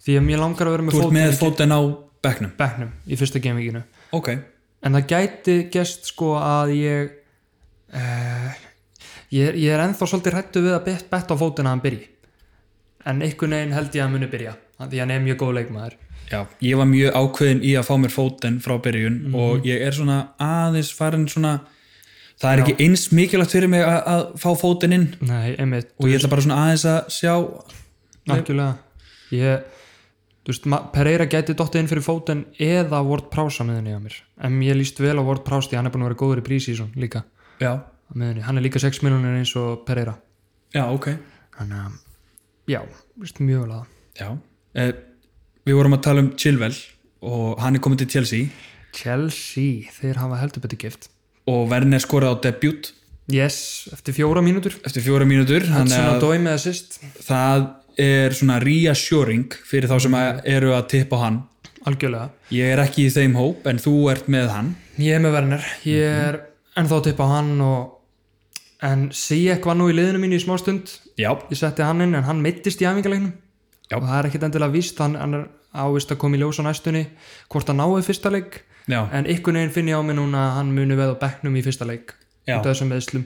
[SPEAKER 2] því að mér langar að vera með
[SPEAKER 1] þú ert
[SPEAKER 2] fóten
[SPEAKER 1] með
[SPEAKER 2] í
[SPEAKER 1] fótinn á bekknum,
[SPEAKER 2] bekknum í fyrsta gamevíkinu
[SPEAKER 1] ok
[SPEAKER 2] en það gæti gest sko að ég uh, ég, er- ég er ennþá svolítið hrættu við að bet, betta á fótina að hann byrji en einhvern veginn held ég að hann muni byrja af því að hann er mjög góð leikmaður
[SPEAKER 1] Já, ég var mjög ákveðin í að fá mér fótinn frá byrjun og ég er svona aðeins farin svona það er ekki eins mikilvægt fyrir mig að, að fá fótinn inn
[SPEAKER 2] nei, einmitt,
[SPEAKER 1] og ég ætla bara svona aðeins að sjá
[SPEAKER 2] algjörlega ég, þú veist, ma- Pereira gæti dottið inn fyrir fótin eða Ward Prowse á miðunni á mér en ég líst vel á Ward Prowse því hann er búin að vera góður í prísísum líka á
[SPEAKER 1] Já,
[SPEAKER 2] miðunni, hann er líka 6 miljonir eins og Pereira
[SPEAKER 1] já, ok
[SPEAKER 2] þannig að, já, þú veist, mjög vel að það.
[SPEAKER 1] Já, eh, við vorum að tala um Chilwell og hann er komið til Chelsea
[SPEAKER 2] Chelsea, þeir hafa heldur betur gift
[SPEAKER 1] og Werner skoraði á debut
[SPEAKER 2] Yes, eftir fjóra mínútur
[SPEAKER 1] eftir fjóra mínútur þannig
[SPEAKER 2] Hudson
[SPEAKER 1] að
[SPEAKER 2] og Dói með assist
[SPEAKER 1] það er svona reassuring fyrir þá sem að eru að tippa á hann
[SPEAKER 2] Algjörlega
[SPEAKER 1] ég er ekki í þeim hóp en þú ert með hann
[SPEAKER 2] Ég er með Werner, ég
[SPEAKER 1] Mhm.
[SPEAKER 2] er ennþá að tippa á hann og en Sijek var nú í liðinu mínu í smá stund
[SPEAKER 1] Já,
[SPEAKER 2] ég setti hann inn en hann mittist í æfingalegnum
[SPEAKER 1] Já.
[SPEAKER 2] og það er ekkit endilega víst hann, hann er ávist að koma í ljós á næstunni hvort hann náu fyrsta leik
[SPEAKER 1] já,
[SPEAKER 2] en ykkur neginn finn ég á mig núna að hann muni veð á bekknum í fyrsta leik
[SPEAKER 1] Já.
[SPEAKER 2] út af þessum meðslum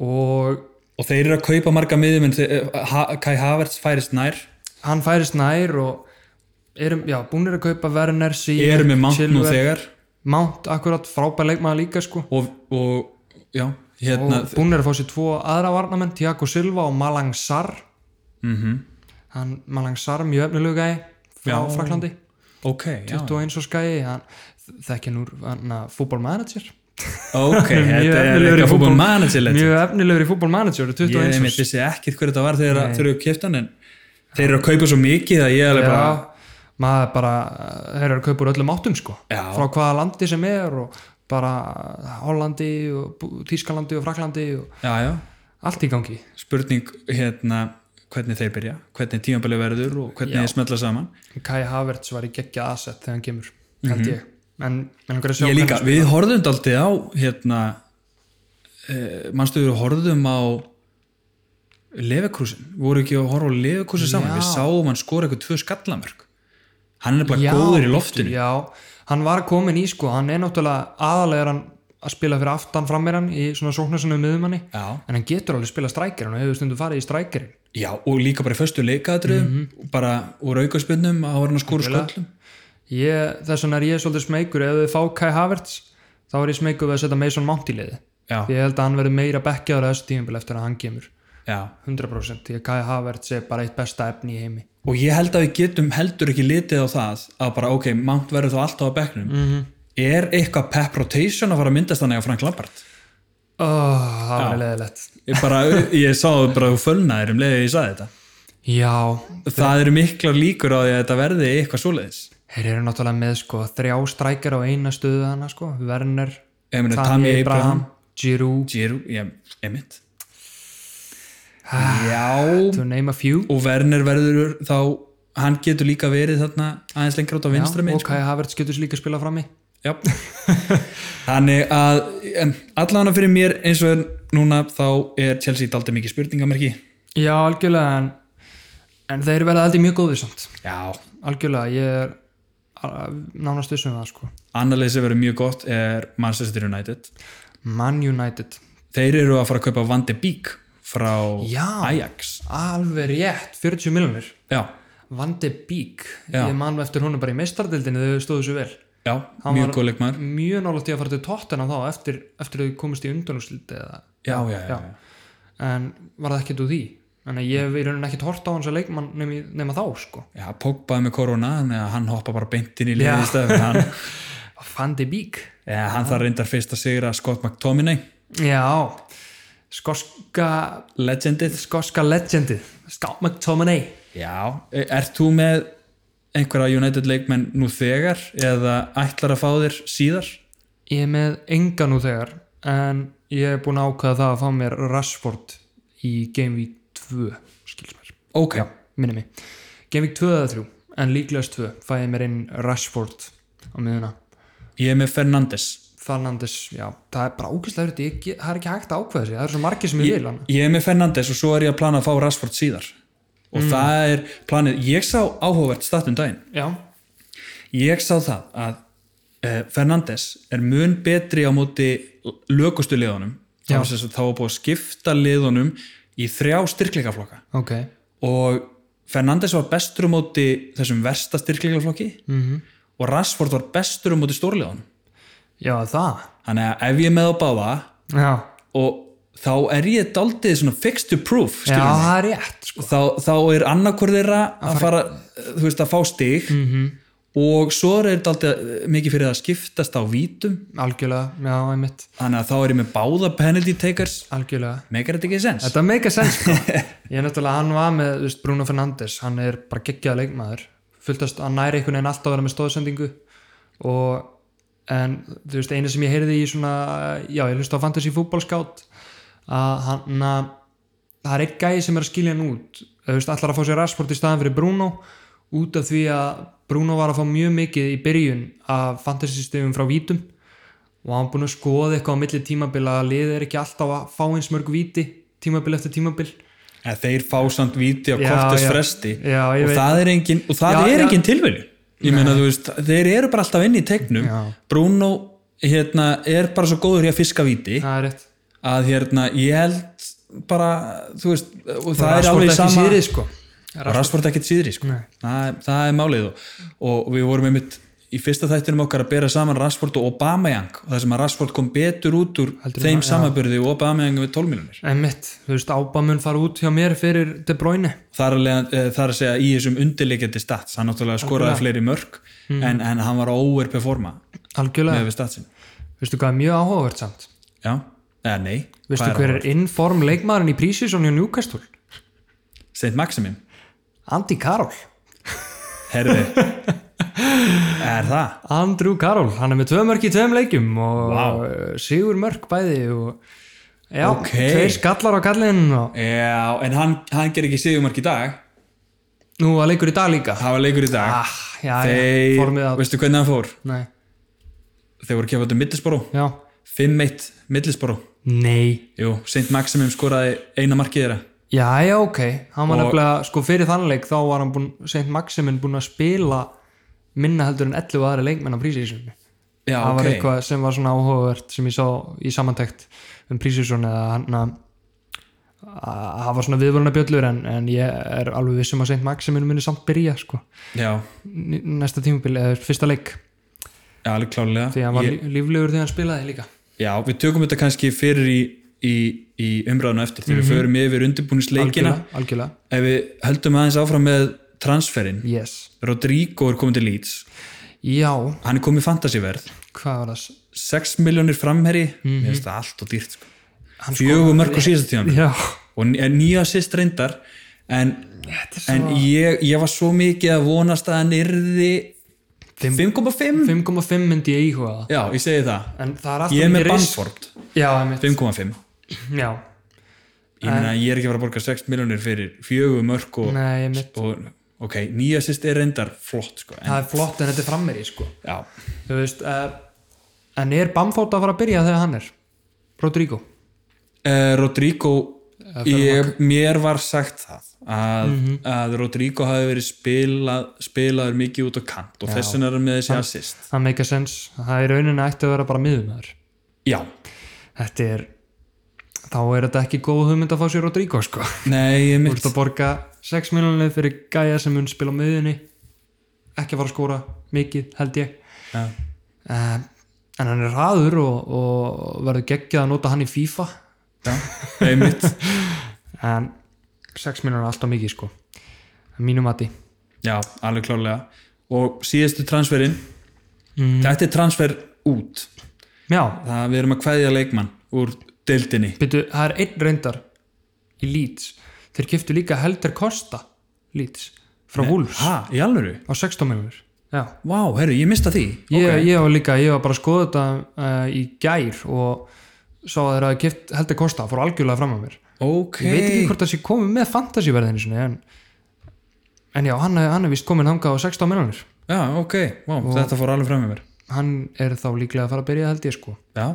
[SPEAKER 2] og
[SPEAKER 1] og þeir eru að kaupa marga miðum en þeir- ha, Kai Havertz færist nær
[SPEAKER 2] hann færist nær og erum, já, búnir að kaupa Werner, Sijek,
[SPEAKER 1] eru með Mount nú þegar
[SPEAKER 2] Mount akkurat frábær leikmaður líka sko
[SPEAKER 1] og, og já,
[SPEAKER 2] og
[SPEAKER 1] hérna
[SPEAKER 2] búin er að fá sér tvo aðra varnamenn Tiago Silva og Malang Sar
[SPEAKER 1] mm
[SPEAKER 2] hann, Malang Sar mjög efnilegu gæi frá
[SPEAKER 1] Já.
[SPEAKER 2] Fraklandi
[SPEAKER 1] ok, já,
[SPEAKER 2] 21 og skæi hann þekkja nú uh, fútbolmanager
[SPEAKER 1] ok,
[SPEAKER 2] Mjög
[SPEAKER 1] þetta er
[SPEAKER 2] efnilegur í
[SPEAKER 1] eitthvað fútbol
[SPEAKER 2] fútbol.
[SPEAKER 1] manager þetta.
[SPEAKER 2] mjög efnilegur í fútbolmanager
[SPEAKER 1] ég
[SPEAKER 2] 21
[SPEAKER 1] einmitt vissi ekkit hver þetta var þegar þeir eru að kipta hann en þeir eru að kaupa svo mikið að ég er alveg bara
[SPEAKER 2] já, maður bara uh, þeir eru að kaupa úr öllum áttum sko
[SPEAKER 1] Já.
[SPEAKER 2] frá hvaða landi sem er og bara Hollandi og Bú- Þýskalandi og Fraklandi og
[SPEAKER 1] já, já,
[SPEAKER 2] allt í gangi
[SPEAKER 1] spurning hérna hvernig þeir byrja, hvernig tímanbæli verður og hvernig
[SPEAKER 2] Já.
[SPEAKER 1] þeir smetla saman
[SPEAKER 2] Kai Havertz var í geggja aðsett þegar hann kemur held ég en, en að sjá
[SPEAKER 1] Mhm. ég líka, sko,
[SPEAKER 2] hvernig-
[SPEAKER 1] við horfðum daldið á hérna eh, manstu við horfðum á Levekrúsin, við vorum ekki að horfa á Levekrúsin saman,
[SPEAKER 2] Já.
[SPEAKER 1] við sáum hann skora eitthvað tvö skallamörk hann er bara
[SPEAKER 2] Já,
[SPEAKER 1] góður í
[SPEAKER 2] bíddu,
[SPEAKER 1] loftinu
[SPEAKER 2] já, hann var komin í sko hann er náttúrulega aðalega hann að spila fyrir aftan frammeran í svona sóknarsinu miðumanni
[SPEAKER 1] já.
[SPEAKER 2] en hann getur alveg spila strækirinn og hefur stundu farið í strækirinn
[SPEAKER 1] já, og líka bara í föstu leikaðatriðum bara úr aukaspinnum að hann að skora
[SPEAKER 2] Algjörlega.
[SPEAKER 1] sköllum
[SPEAKER 2] ég, þess vegna er ég svolítið smeykur ef þið fá Kai Havertz þá er ég smeykur við að setja Mason Mount í liði
[SPEAKER 1] já,
[SPEAKER 2] ég held að hann verði meira bekkjaður á þessu tímbil eftir að hann kemur
[SPEAKER 1] já.
[SPEAKER 2] 100% því að Kai Havertz er bara eitt besta efni í heimi
[SPEAKER 1] og ég held að við getum heldur ekki litið á það að bara ok, Mount verður þá alltaf á bekknum er eitthvað pep rotation að fara að myndast þannig á Frank Lampard
[SPEAKER 2] oh, það var leðilegt
[SPEAKER 1] ég, bara, <laughs> ég sá það bara að þú fölnaðir um leiðið ég saði þetta
[SPEAKER 2] já,
[SPEAKER 1] það eru miklar líkur á því að þetta verði eitthvað svoleiðis
[SPEAKER 2] þeir eru náttúrulega með sko þrjá strækir á eina stöðu hana sko Werner,
[SPEAKER 1] Ég meina, Tammy Abraham,
[SPEAKER 2] Giroud
[SPEAKER 1] Giroud, ég- Emmett já
[SPEAKER 2] to name a few
[SPEAKER 1] og Werner verður þá hann getur líka verið þarna aðeins lengra út á
[SPEAKER 2] Já,
[SPEAKER 1] vinstra minn
[SPEAKER 2] og Kai Havertz getur sér líka að spila fram í
[SPEAKER 1] <laughs> Já. þannig að em, allavega fyrir mér eins og núna þá er Chelsea daldið mikið spurningamerki
[SPEAKER 2] já, algjörlega en, en þeir verða aldrei mjög góðir samt
[SPEAKER 1] já,
[SPEAKER 2] algjörlega, ég er al- nánast vissum það sko
[SPEAKER 1] annar leið sem verður mjög gott er Manchester United
[SPEAKER 2] Man United,
[SPEAKER 1] þeir eru að fara að kaupa Van de Beek frá
[SPEAKER 2] Já.
[SPEAKER 1] Ajax
[SPEAKER 2] alveg rétt 40 miljonir,
[SPEAKER 1] já,
[SPEAKER 2] Van de Beek
[SPEAKER 1] Já.
[SPEAKER 2] ég man eftir honum bara í meistardildinu þau stóðu svo vel,
[SPEAKER 1] já,
[SPEAKER 2] Hann
[SPEAKER 1] mjög
[SPEAKER 2] var-
[SPEAKER 1] góð leikmaður
[SPEAKER 2] mjög nálægt í að fara til tóttina þá eftir, eftir þau komist í undanúsliti eða,
[SPEAKER 1] já, já, já,
[SPEAKER 2] Já.
[SPEAKER 1] já.
[SPEAKER 2] en var það ekkert úr því en ég hef í rauninni ekkert hort á hans að leikmann nema, í- nema þá sko,
[SPEAKER 1] Já, Pogbaði með korona, þannig að hann hoppa bara beint inn í
[SPEAKER 2] Já.
[SPEAKER 1] liðið í stað hann,
[SPEAKER 2] <laughs> Van de Beek
[SPEAKER 1] ja, hann þarf reyndar fyrst að sigra Scott McTominay,
[SPEAKER 2] já, skoska
[SPEAKER 1] legendið
[SPEAKER 2] skoska legendið Scott McTominay
[SPEAKER 1] Já, E, ert þú með einhverja United leikmenn nú þegar eða ætlar að fá þér síðar?
[SPEAKER 2] ég er með enga nú þegar en ég er búin að ákveða það að fá mér Rashford í Game Week 2 skils mér,
[SPEAKER 1] Ok,
[SPEAKER 2] minni mig Game Week 2 eða 3, en líklegast 2 fæ ég mér inn Rashford á miðuna
[SPEAKER 1] ég er með Fernandes
[SPEAKER 2] Fernandes, já, það er bara ógæslega verið, ég, ge- það er ekki hægt að ákveða sig það er svo margir sem ég
[SPEAKER 1] ég,
[SPEAKER 2] vil hann
[SPEAKER 1] ég er með Fernandes og svo er ég að plana að fá Rashford síðar og það er planið, ég sá áhugavert statum daginn,
[SPEAKER 2] já,
[SPEAKER 1] ég sá það að eh, Fernandes er mun betri á móti lögustu liðunum þá
[SPEAKER 2] Já.
[SPEAKER 1] var sem sagt- þá var búið að skipta liðunum í þrjá styrkleikaflokka
[SPEAKER 2] ok
[SPEAKER 1] og Fernandes var bestur á móti þessum versta styrkleikaflokki
[SPEAKER 2] mm
[SPEAKER 1] og Rashford var bestur á móti stórleðunum
[SPEAKER 2] já, það
[SPEAKER 1] þannig að ef ég er með á báða
[SPEAKER 2] já,
[SPEAKER 1] og þá er ég daldið svona fixed to proof
[SPEAKER 2] já
[SPEAKER 1] skilurðu mig.
[SPEAKER 2] það er rétt sko.
[SPEAKER 1] þá, þá er annarkur þeirra að fara, þú veist, að fá stig -hmm. og svo er daldið mikið fyrir að skiptast á vítum
[SPEAKER 2] algjörlega, já, einmitt
[SPEAKER 1] þannig að þá er ég með báða penalty takers
[SPEAKER 2] algjörlega
[SPEAKER 1] megar þetta ekki sens
[SPEAKER 2] Þetta make a sense sko. Ég er náttúrulega, hann var með þú veist, Bruno Fernandes, hann er bara geggjaða leikmaður fulltast, hann næri einhvern veginn alltaf að vera með stóðsendingu og en þú veist, einu sem ég heyrði í svona, já, ég hlusta á Fantasy Football Scout að hann að það er einn gæði sem er að skilja hann út þú veist, allar að fá sér rasport í staðan fyrir Bruno út af því að Bruno var að fá mjög mikið í byrjun af Fantasy stegum frá vítum og hann búin að skoða eitthvað á milli tímabila að liðið er ekki alltaf að fá eins mörg víti tímabil eftir tímabil
[SPEAKER 1] en þeir fá samt víti á
[SPEAKER 2] Já,
[SPEAKER 1] kortes
[SPEAKER 2] já.
[SPEAKER 1] fresti
[SPEAKER 2] Já, ég
[SPEAKER 1] og
[SPEAKER 2] veit.
[SPEAKER 1] það er engin, og það
[SPEAKER 2] Já,
[SPEAKER 1] er
[SPEAKER 2] já.
[SPEAKER 1] engin tilvili ég meina þú veist, þeir eru bara alltaf inn í tegnum
[SPEAKER 2] Já.
[SPEAKER 1] Bruno hérna, er bara svo góður í að fiska víti
[SPEAKER 2] það er rétt
[SPEAKER 1] að hérna, ég held bara, þú veist og það er
[SPEAKER 2] Rashford
[SPEAKER 1] alveg
[SPEAKER 2] ekki
[SPEAKER 1] sama
[SPEAKER 2] síðri, sko.
[SPEAKER 1] og Rashford ekkert síðri sko.
[SPEAKER 2] Nei.
[SPEAKER 1] það, er- það er málið og, og við vorum einmitt í fyrsta þættinum okkar að bera saman Rashford og Aubameyang og það sem að Rashford kom betur út úr
[SPEAKER 2] Heldur en
[SPEAKER 1] þeim
[SPEAKER 2] það, já.
[SPEAKER 1] samabörði og Aubameyang við 12 miljonir
[SPEAKER 2] en mitt, þú veist, Ába mun fara út hjá mér fyrir De Bruyne
[SPEAKER 1] þar að, lega, eh, þar að segja í þessum undirleikjandi stats, hann náttúrulega skoraði
[SPEAKER 2] Algjörlega.
[SPEAKER 1] fleiri mörg
[SPEAKER 2] Hmm.
[SPEAKER 1] en, en hann var að overperforma með
[SPEAKER 2] algjörlega,
[SPEAKER 1] við statsin
[SPEAKER 2] veistu hvað er mjög áhugavert samt
[SPEAKER 1] já, eða nei,
[SPEAKER 2] veistu hver er inform leikmaðurinn í prísísónu hjá Newcastle
[SPEAKER 1] St. Maximin
[SPEAKER 2] Andy Carroll
[SPEAKER 1] herri
[SPEAKER 2] <laughs>
[SPEAKER 1] er það?
[SPEAKER 2] Andrew Carroll, hann er með tvö mörk í tveim leikjum og uh,
[SPEAKER 1] Vá.
[SPEAKER 2] sigur mörk bæði og já,
[SPEAKER 1] Ok.
[SPEAKER 2] tveir skallar á kallinn og
[SPEAKER 1] já, en hann, hann ger ekki sigjumark í dag
[SPEAKER 2] nú að leikur í dag líka
[SPEAKER 1] það var leikur í dag
[SPEAKER 2] ah, já, já,
[SPEAKER 1] þeir,
[SPEAKER 2] formið á
[SPEAKER 1] veistu hvernig hann fór?
[SPEAKER 2] nei,
[SPEAKER 1] þeir voru kefandi um Middlesboro,
[SPEAKER 2] já
[SPEAKER 1] 5-1 Middlesboro,
[SPEAKER 2] nei,
[SPEAKER 1] jú, St. Maximin skoraði eina markið þeirra
[SPEAKER 2] já, já, ok hann var
[SPEAKER 1] Og-
[SPEAKER 2] nefnilega, sko fyrir þannleik þá var hann búin, Saint Maximin búin að spila minna heldur en 11 aðra leikmenn á prísísunni
[SPEAKER 1] já,
[SPEAKER 2] það var
[SPEAKER 1] ok,
[SPEAKER 2] eitthvað sem var svona áhugavert sem ég sá í samantækt um prísísunni eða hann að að hafa svona viðvöruna bjöllur en, en ég er alveg vissum að Saint Maximin muni samt byrja sko,
[SPEAKER 1] já,
[SPEAKER 2] n- næsta tímubili eða fyrsta leik,
[SPEAKER 1] já, alveg klálega
[SPEAKER 2] því hann var
[SPEAKER 1] Ég-
[SPEAKER 2] ég... líflegur þegar hann spilaði líka
[SPEAKER 1] Já, við tökum þetta kannski fyrir í, í, í umræðuna eftir þegar við förum yfir undirbúnisleikina
[SPEAKER 2] Mhm. algjörlega, algjörlega,
[SPEAKER 1] ef við höldum aðeins áfram með transferinn
[SPEAKER 2] yes
[SPEAKER 1] Rodrigo er komið til Leeds
[SPEAKER 2] já,
[SPEAKER 1] hann er komið fantasyverð
[SPEAKER 2] hvað var það
[SPEAKER 1] 6 miljónir framherri mér finnst það allt og dýrt sko.
[SPEAKER 2] Mhm. Hann
[SPEAKER 1] fjögur mörg á síðasta tíma
[SPEAKER 2] <laughs> Já,
[SPEAKER 1] og n- en nýja sýst reyndar en,
[SPEAKER 2] þetta er
[SPEAKER 1] en ég, ég var svo mikið að vonast að hann yrði 5,5
[SPEAKER 2] 5,5 myndi ég íhuga það
[SPEAKER 1] já, ég segi það
[SPEAKER 2] En það er alltaf
[SPEAKER 1] ég er með
[SPEAKER 2] mikið risk.
[SPEAKER 1] Banford
[SPEAKER 2] Já, einmitt
[SPEAKER 1] 5,5
[SPEAKER 2] Já,
[SPEAKER 1] ég meina ég er ekki að fara að borga 6 miljónir fyrir fjögur mörg og
[SPEAKER 2] nei, einmitt
[SPEAKER 1] og ok, nýja sýst er reyndar flott sko, en
[SPEAKER 2] Það er flott en þetta er frammeri, sko eh,
[SPEAKER 1] já,
[SPEAKER 2] Þú veist, uh, en er Bamfóta að fara að byrja þegar hann er? Rodrigo
[SPEAKER 1] uh, Rodrigo
[SPEAKER 2] Eða
[SPEAKER 1] ég, mér var sagt það að,
[SPEAKER 2] Mhm.
[SPEAKER 1] að Rodrigo hafi verið spilað, spilaður mikið út á kant og þess vegna er hann með þessi assist
[SPEAKER 2] það make a sense, það er rauninni ætti að vera bara miðumæður
[SPEAKER 1] já,
[SPEAKER 2] þetta er þá er þetta ekki góð hugmynd að fá sér Rodrigo sko,
[SPEAKER 1] nei, ég
[SPEAKER 2] þú
[SPEAKER 1] mitt
[SPEAKER 2] ert að borga 6 miljonir fyrir gæja sem mun spila á miðunni ekki að fara að skóra mikið held ég
[SPEAKER 1] Já.
[SPEAKER 2] Eh, en hann er raður og, og verður geggjað að nota hann í FIFA
[SPEAKER 1] já, nei, mitt
[SPEAKER 2] en 6 miljonir er alltaf mikið sko Að mínu mati
[SPEAKER 1] já, alveg klálega og síðastu transferinn
[SPEAKER 2] Mhm.
[SPEAKER 1] þetta er transfer út
[SPEAKER 2] já,
[SPEAKER 1] það við erum að kveðja leikmann úr deildinni
[SPEAKER 2] byrju, það er einn reyndar í Leeds, þeir kiftu líka Helder Costa Leeds frá Wolves
[SPEAKER 1] ha, í alvöru?
[SPEAKER 2] á 16 miljonir já
[SPEAKER 1] Vá, herru, ég mista því
[SPEAKER 2] ég,
[SPEAKER 1] Ok.
[SPEAKER 2] ég var líka, ég var bara að skoða þetta uh, í gær og sá að þeirra kift heldur kosta, fór algjörlega fram að mér
[SPEAKER 1] ok,
[SPEAKER 2] ég veit ekki hvort það sé komið með fantasyverðinu sinni, en, en já, hann, hann er vist komin hangað á 16 miljonir
[SPEAKER 1] já, ok, Vá, þetta fór alveg fram með mér
[SPEAKER 2] hann er þá líklega að fara að byrja held ég sko
[SPEAKER 1] já,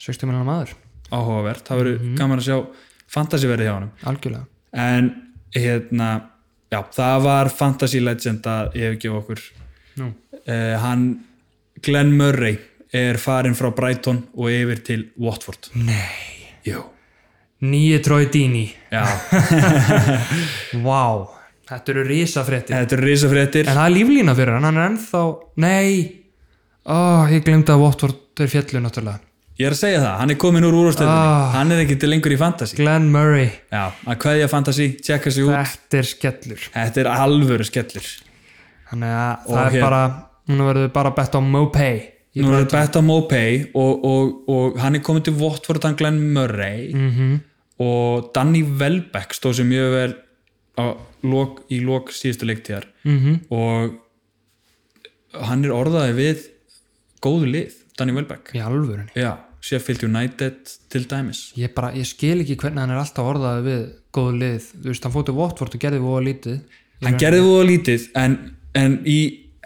[SPEAKER 2] 60 miljonar maður,
[SPEAKER 1] áhugavert, það verður
[SPEAKER 2] Mhm.
[SPEAKER 1] gaman að sjá fantasiverði hjá honum
[SPEAKER 2] algjörlega
[SPEAKER 1] en hérna já, það var fantasy legend að ég hef ekki okkur
[SPEAKER 2] Nú.
[SPEAKER 1] uh, hann Glenn Murray er farin frá Brighton og yfir til Watford
[SPEAKER 2] Nei.
[SPEAKER 1] Jú.
[SPEAKER 2] nýju trói dýni,
[SPEAKER 1] já,
[SPEAKER 2] vá þetta eru risafréttir
[SPEAKER 1] þetta eru risafréttir
[SPEAKER 2] en það er líflína fyrir hann, hann er ennþá nei, ó, ég glemdi að Watford er fjallu náttúrulega
[SPEAKER 1] ég er að segja það, hann er komin úr úrvastöðinni
[SPEAKER 2] Ah.
[SPEAKER 1] hann er ekki til lengur í fantasy
[SPEAKER 2] Glenn Murray
[SPEAKER 1] já, að kveðja fantasy, tjekka sig út
[SPEAKER 2] Þetta er skellur
[SPEAKER 1] þetta er alvöru skellur
[SPEAKER 2] Þannig að
[SPEAKER 1] Og
[SPEAKER 2] það er
[SPEAKER 1] hér-
[SPEAKER 2] bara Núna verður við bara bett á Mopay
[SPEAKER 1] Nú er þetta betta Mopay og, og, og hann er komin til Watford hann Glenn Murray -hmm. og Danny Welbeck stóð sem mjög vel á, lok, í lok síðustu leiktíðar -hmm. og hann er orðaði við góðu lið, Danny Welbeck
[SPEAKER 2] Í alvörunni
[SPEAKER 1] Já, Sheffield United til dæmis
[SPEAKER 2] Ég, bara, ég skil ekki hvernig hann er alltaf orðaði við góðu lið Þú veist, hann fótið Votvort og gerði voða lítið
[SPEAKER 1] Hann gerði þú lítið en, en í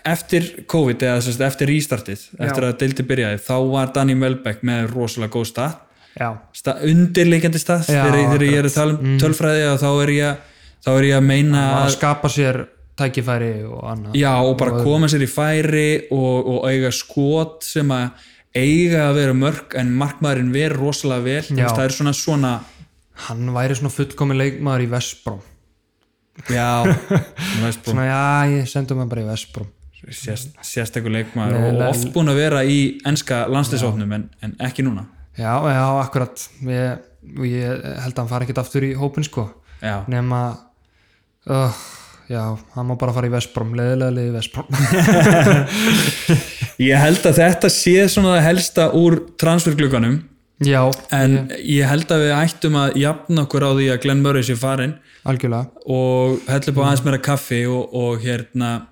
[SPEAKER 1] eftir COVID eða sérst, eftir restartið, eftir að deildi byrjaði þá var Danny Welbeck með rosalega góð stað
[SPEAKER 2] Já,
[SPEAKER 1] sta, undirleikjandi stað
[SPEAKER 2] Já, Mhm.
[SPEAKER 1] þegar, þegar ég er að tala um tölfræði og þá er ég, að- þá er ég að meina
[SPEAKER 2] að
[SPEAKER 1] að,
[SPEAKER 2] skapa sér tækifæri og annað
[SPEAKER 1] já, og bara koma sér í færi og, og eiga skot sem að eiga að vera mörg en markmaðurinn veri rosalega vel Þú
[SPEAKER 2] Já.
[SPEAKER 1] veist, það er svona svona
[SPEAKER 2] Hann væri svona fullkomin leikmaður í Vespróm <laughs>
[SPEAKER 1] já, veist,
[SPEAKER 2] Svona, já, ég sendum hann bara í Vespróm
[SPEAKER 1] sérst, sérstakur leikmaður
[SPEAKER 2] Nei,
[SPEAKER 1] og
[SPEAKER 2] le-
[SPEAKER 1] oft búin að vera í enska landslisofnum en, en ekki núna
[SPEAKER 2] Já, já, akkurat Ég, ég held að hann fari ekkert aftur í hópin sko
[SPEAKER 1] já,
[SPEAKER 2] nema uh, já, hann má bara fara í Vespróm leðilega liði Vespróm
[SPEAKER 1] ég held að þetta sé svona það helsta úr transferglugganum
[SPEAKER 2] <laughs> já,
[SPEAKER 1] en ég held að við ættum að jafna okkur á því að Glenn Murray sé farinn
[SPEAKER 2] algjörlega
[SPEAKER 1] og hella upp á aðeins meira kaffi og, og hérna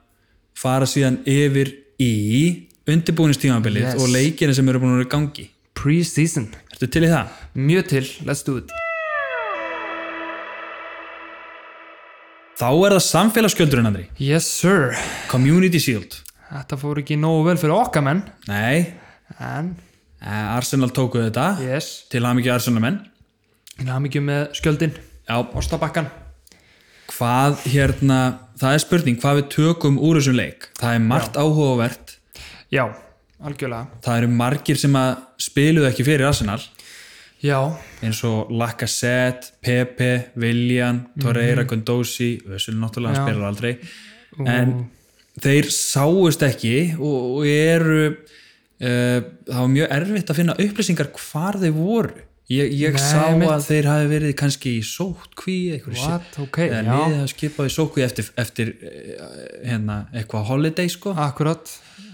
[SPEAKER 1] fara síðan yfir í undirbúinistímabilið
[SPEAKER 2] Yes.
[SPEAKER 1] og leikina sem eru búin að vera í gangi
[SPEAKER 2] pre-season,
[SPEAKER 1] Ertu til í það?
[SPEAKER 2] mjög til, let's do it
[SPEAKER 1] Þá er það samfélagsgjöldurinn andri
[SPEAKER 2] yes sir,
[SPEAKER 1] Community Shield
[SPEAKER 2] þetta fór ekki nógu vel fyrir okkar menn
[SPEAKER 1] Nei,
[SPEAKER 2] en,
[SPEAKER 1] eh, Arsenal tókuð þetta
[SPEAKER 2] yes
[SPEAKER 1] til að mikið Arsenal menn
[SPEAKER 2] en hann ekki með skjöldin,
[SPEAKER 1] Já,
[SPEAKER 2] Óstabakkan
[SPEAKER 1] hvað hérna það er spurning hvað við tökum úr þessum leik það er margt áhugavert
[SPEAKER 2] já, algjörlega
[SPEAKER 1] það eru margir sem að spiluðu ekki fyrir Arsenal
[SPEAKER 2] já,
[SPEAKER 1] eins og Lacazette, Pepe, Willian, Torreira, Gondosi Össul náttúrulega, hann
[SPEAKER 2] Mhm. Já.
[SPEAKER 1] spilar aldrei en þeir sáust ekki og, og eru uh, það var mjög erfitt að finna upplýsingar hvar þeir voru ég, ég
[SPEAKER 2] Nei,
[SPEAKER 1] sá
[SPEAKER 2] mitt.
[SPEAKER 1] að þeir hafi verið kannski í sótkví einhverju sé-
[SPEAKER 2] What? Ok,
[SPEAKER 1] eða
[SPEAKER 2] já.
[SPEAKER 1] liðið hafi skipað í sótkví eftir, eftir eh, hérna, eitthvað holiday sko
[SPEAKER 2] akkurat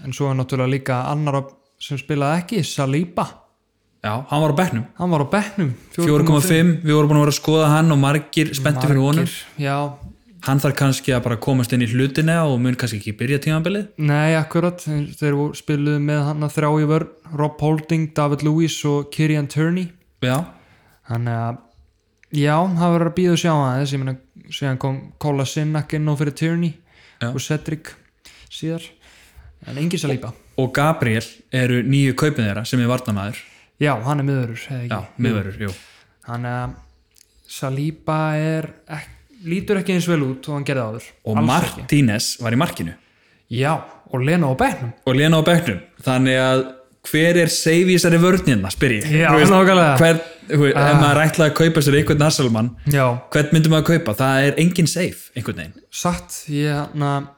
[SPEAKER 2] en svo er náttúrulega líka annar sem spilaði ekki, Saliba
[SPEAKER 1] já, hann var á bekknum
[SPEAKER 2] hann var á bekknum
[SPEAKER 1] 4,5, við vorum búin að vera að skoða hann og margir spennti fyrir honum
[SPEAKER 2] já,
[SPEAKER 1] hann þarf kannski að bara komast inn í hlutina og mun kannski ekki byrja tímabilið
[SPEAKER 2] Nei, akkurat, þeir þeir voru- spiluðu með hann að þrjá í vörn Rob Holding, David Lewis og Kirian Turney
[SPEAKER 1] já,
[SPEAKER 2] Þannig að, já, það verður að býða og sjá aðeins Ég meina, síðan kom Kola Sinnak inn á fyrir Turney
[SPEAKER 1] Já.
[SPEAKER 2] og Cedric síðar En engin salípa
[SPEAKER 1] og Gabriel eru nýju kaupin þeirra sem er varnamæður Mm.
[SPEAKER 2] Já, hann er miðurur, eða ekki
[SPEAKER 1] já, miðverður, jú
[SPEAKER 2] þannig að Saliba er ek, lítur ekki eins vel út og hann gerði áður
[SPEAKER 1] og
[SPEAKER 2] Alls ekki.
[SPEAKER 1] Martínez var í markinu
[SPEAKER 2] já, og Lena á bæknum
[SPEAKER 1] og Lena á bekknum þannig að hver er save í þessari vörnina spyr ég
[SPEAKER 2] Já,
[SPEAKER 1] Þú
[SPEAKER 2] nákvæmlega.
[SPEAKER 1] hver, hver, ef maður ætlaði að kaupa sér einhvern Nassalmann
[SPEAKER 2] já,
[SPEAKER 1] hvern myndum maður að kaupa, það er engin save einhvern veginn,
[SPEAKER 2] satt ég, na,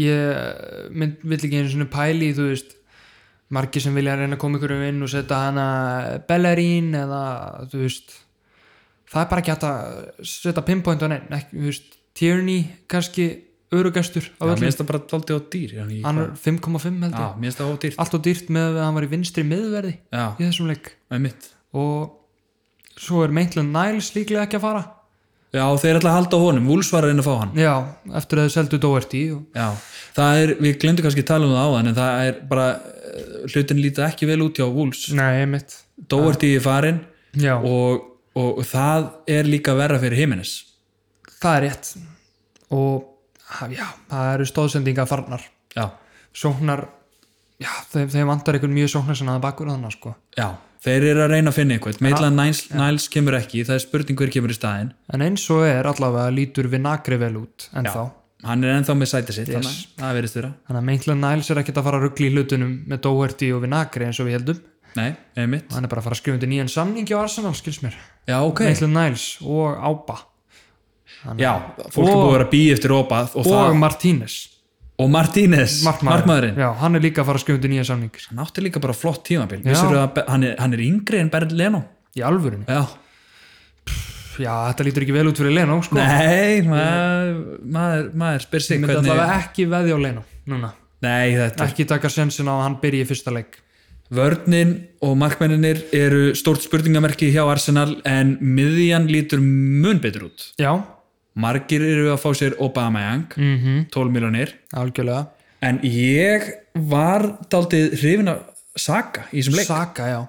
[SPEAKER 2] ég mynd, vill ekki einu svona pæli í, þú veist margir sem vilja reyna að koma ykkur um inn og setja hana eh, Bellerín eða þú veist það er bara ekki hægt að setja pinpoint á neinn, ekki, þú veist Tierney kannski örugastur á
[SPEAKER 1] Já, mér
[SPEAKER 2] öllum,
[SPEAKER 1] finnst það bara daldið á dýr hann,
[SPEAKER 2] hann er 5,5
[SPEAKER 1] Já,
[SPEAKER 2] held ég,
[SPEAKER 1] mér finnst það á dýr
[SPEAKER 2] allt og dýrt með að hann var í vinstri miðverði í
[SPEAKER 1] Já,
[SPEAKER 2] þessum leik
[SPEAKER 1] með mitt
[SPEAKER 2] og svo er Maitland Niles líklega ekki að fara
[SPEAKER 1] Já, þeir ætla að halda á honum, Wolves var að reyna að fá hann
[SPEAKER 2] já, eftir að þau seldu Doherty og...
[SPEAKER 1] Já, það er, við glemdu kannski að tala um það áðan en það er bara, eh, hlutin lítið ekki vel út hjá Wolves,
[SPEAKER 2] nei, mitt
[SPEAKER 1] Doherty er farin
[SPEAKER 2] já,
[SPEAKER 1] og, og það er líka verra fyrir Jimenez
[SPEAKER 2] það er rétt og ha, já, það eru stóðsendinga farnar
[SPEAKER 1] Já,
[SPEAKER 2] sóknar, já, þeim, þeim vantar einhvern mjög sóknar sem aða bakur þannig sko
[SPEAKER 1] já, þeir eru að reyna að finna einhvern Maitland Niles, Niles kemur ekki, það er spurning hver kemur í staðinn
[SPEAKER 2] en eins og er allavega lítur við nagri vel út en þá,
[SPEAKER 1] Hann er ennþá með sætið sitt,
[SPEAKER 2] Yes.
[SPEAKER 1] þannig að það verðist vera
[SPEAKER 2] þannig að Maitland Niles er ekkert að fara að ruggli í hlutunum með Doherty og við nagri eins og við heldum
[SPEAKER 1] Nei, eða mitt
[SPEAKER 2] hann er bara að fara að skrifa undir nýjan samning á Arsenal, skils mér,
[SPEAKER 1] Já, ok,
[SPEAKER 2] Maitland Niles og Ába
[SPEAKER 1] já, fólk er
[SPEAKER 2] Og-
[SPEAKER 1] búið að vera bí eftir opa og,
[SPEAKER 2] og
[SPEAKER 1] það,
[SPEAKER 2] Martínez
[SPEAKER 1] og Martínez
[SPEAKER 2] markmaðurinn,
[SPEAKER 1] Markmaðurinn,
[SPEAKER 2] já, hann er líka að fara að skjóða undir nýja samning
[SPEAKER 1] hann átti líka bara flott tímabil
[SPEAKER 2] Já.
[SPEAKER 1] Vissirðu að Be- hann er, hann er yngri en Bernd Leno
[SPEAKER 2] í alvörinu,
[SPEAKER 1] Já,
[SPEAKER 2] já, þetta lítur ekki vel út fyrir Leno sko,
[SPEAKER 1] Nei, maður, maður, maður spyr sig
[SPEAKER 2] ég myndi
[SPEAKER 1] hvernig...
[SPEAKER 2] allavega ekki veðja á Leno núna,
[SPEAKER 1] Nei, þetta er...
[SPEAKER 2] ekki taka sensin á að hann byrja í fyrsta leik
[SPEAKER 1] Vörnin og markmenninir eru stórt spurningamerki hjá Arsenal en miðjan lítur mun betur út.
[SPEAKER 2] já,
[SPEAKER 1] Margir eru að fá sér Aubameyang,
[SPEAKER 2] mm
[SPEAKER 1] 12 miljonir.
[SPEAKER 2] algjörlega
[SPEAKER 1] En ég var daldið hrifin af Saka í þessum leik.
[SPEAKER 2] Saka, já,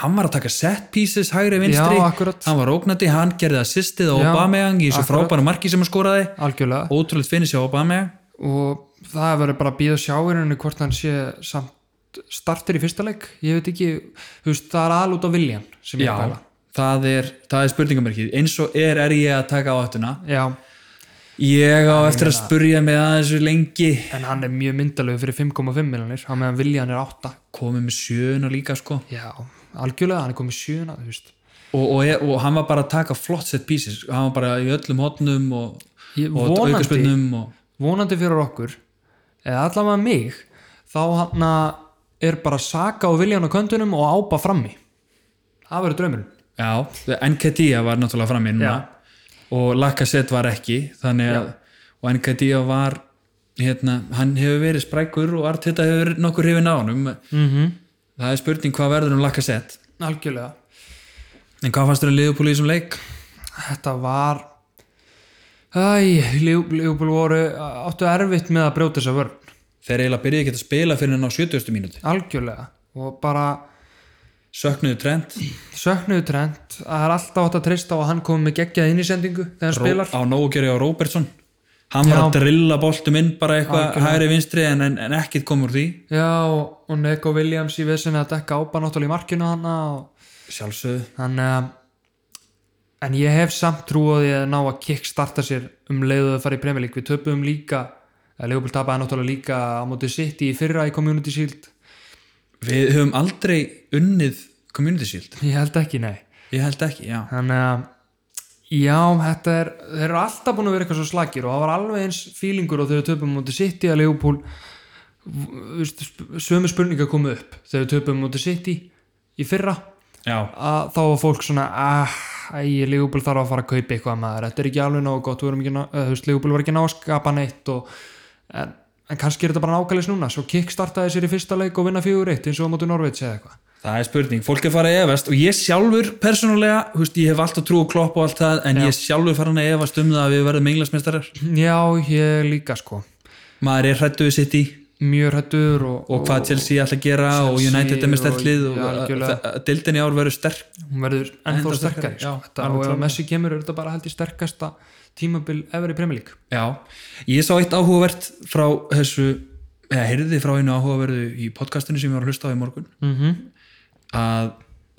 [SPEAKER 1] Hann var að taka set pieces hægri vinstri.
[SPEAKER 2] Já, akkurat.
[SPEAKER 1] Hann var ógnandi, hann gerði assistið á
[SPEAKER 2] Já,
[SPEAKER 1] Aubameyang í þessu
[SPEAKER 2] akkurat.
[SPEAKER 1] frábæra marki sem hann skoraði.
[SPEAKER 2] algjörlega
[SPEAKER 1] Ótrúlegt finnist hjá Aubameyang.
[SPEAKER 2] og það verður bara að býða sjáirinu hvort hann sé samt startir í fyrsta leik, ég veit ekki þú veist, það er alút á viljan sem ég er
[SPEAKER 1] Já,
[SPEAKER 2] að pæla.
[SPEAKER 1] það er, það er spurningamerkið eins og er, er ég að taka áhættuna
[SPEAKER 2] já,
[SPEAKER 1] ég á eftir að spurja mig að þessu lengi
[SPEAKER 2] en hann er mjög myndalög fyrir 5,5 miljonir, hann meðan viljan er 8
[SPEAKER 1] komið með sjöuna líka sko
[SPEAKER 2] já, algjörlega, hann er komið sjöna þú veist
[SPEAKER 1] og, og, er, og hann var bara að taka flott set pieces hann var bara í öllum hotnum og,
[SPEAKER 2] Ég-
[SPEAKER 1] og
[SPEAKER 2] vonandi,
[SPEAKER 1] aukaspennum og,
[SPEAKER 2] vonandi fyrir okkur eða allavega mig þá hann er bara Saka og Viljan á köndunum og ápa frammi það verður draumurinn
[SPEAKER 1] já, NKDA var náttúrulega fram í núna
[SPEAKER 2] Já.
[SPEAKER 1] og Lacazette var ekki þannig að, og NKDA var hérna, hann hefur verið sprækur og Arteta hefur verið nokkur hrifin á honum
[SPEAKER 2] mm -hmm.
[SPEAKER 1] það er spurning hvað verður um Lacazette
[SPEAKER 2] algjörlega
[SPEAKER 1] en hvað fannst þér að liðupúli í þessum leik?
[SPEAKER 2] þetta var æ, Ljúbúl voru áttu erfitt með að brjóta þessa vörn
[SPEAKER 1] þeir eiginlega byrjuði ekki að spila fyrir hann á 70. mínúti
[SPEAKER 2] algjörlega og bara
[SPEAKER 1] söknuðu trend
[SPEAKER 2] söknuðu trend það er alltaf átt að treysta á að hann komi með geggjað inn í sendingu þegar hann spilar
[SPEAKER 1] á nógu að gera á Robertson hann var að drilla boltum inn bara eitthvað hægri vinstri en, en, en ekkit kom úr því
[SPEAKER 2] já, og og Neko Williams í vissinni að dekka ápa náttúrulega í markinu hann og
[SPEAKER 1] sjálfsögðu
[SPEAKER 2] þannig að en ég hef samt trú á því að ná að kickstarta sér um leiðu að fara í Premier League við töpuðum líka, eða Leopold tapaði náttúrulega líka á móti City í fyrra í Community Shield
[SPEAKER 1] við höfum aldrei unnið Community Shield
[SPEAKER 2] ég held ekki, nei
[SPEAKER 1] ég held ekki, já
[SPEAKER 2] þannig að já, þetta er, þeir eru alltaf búin að vera eitthvað svo slagir og það var alveg eins fílingur og þegar við töpuðum á móti City að Leopold veist, sp- sömu spurningar komu upp þegar við töpuðum á móti City í fyrra
[SPEAKER 1] já,
[SPEAKER 2] að þá var fólk svona ah, æg, Leopold þarf að fara að kaupa eitthvað maður, þetta er ekki alveg nógu gott, við erum ekki ná- eða, þú veist, Leopold var ekki ná að skapa neitt og, en, en kannski er þetta bara nákvæmleis núna svo kickstartaði sér í fyrsta leik og vinna fjögur eitt eins og á mótu Norveits eða eitthvað
[SPEAKER 1] það er spurning fólk er farið að efast og ég sjálfur persónulega, þú veist, ég hef alltaf trú og klopp og allt það en ég sjálfur farin að efast um það að við verðum englansmestarar
[SPEAKER 2] já, ég líka sko,
[SPEAKER 1] maður er hrættu við sitt í
[SPEAKER 2] mjög hrættur og,
[SPEAKER 1] og hvað Chelsea ætla að gera og
[SPEAKER 2] Chelsea
[SPEAKER 1] United er með
[SPEAKER 2] og-
[SPEAKER 1] stertlið og,
[SPEAKER 2] já,
[SPEAKER 1] og, og,
[SPEAKER 2] algjörlega.
[SPEAKER 1] og, og dildin í ár verður sterk
[SPEAKER 2] hún verður ennþá
[SPEAKER 1] Ennþá sterkari,
[SPEAKER 2] sterkari sko.
[SPEAKER 1] já,
[SPEAKER 2] þetta,
[SPEAKER 1] alveg
[SPEAKER 2] og ef
[SPEAKER 1] klárlega.
[SPEAKER 2] Messi kemur er þetta bara held ég sterkasta tímabil ever í Premier League
[SPEAKER 1] Já, ég sá eitt áhugavert frá þessu, eða heyrði frá einu áhugaverðu í podcastinu sem ég var að hlusta á í morgun
[SPEAKER 2] mm -hmm.
[SPEAKER 1] að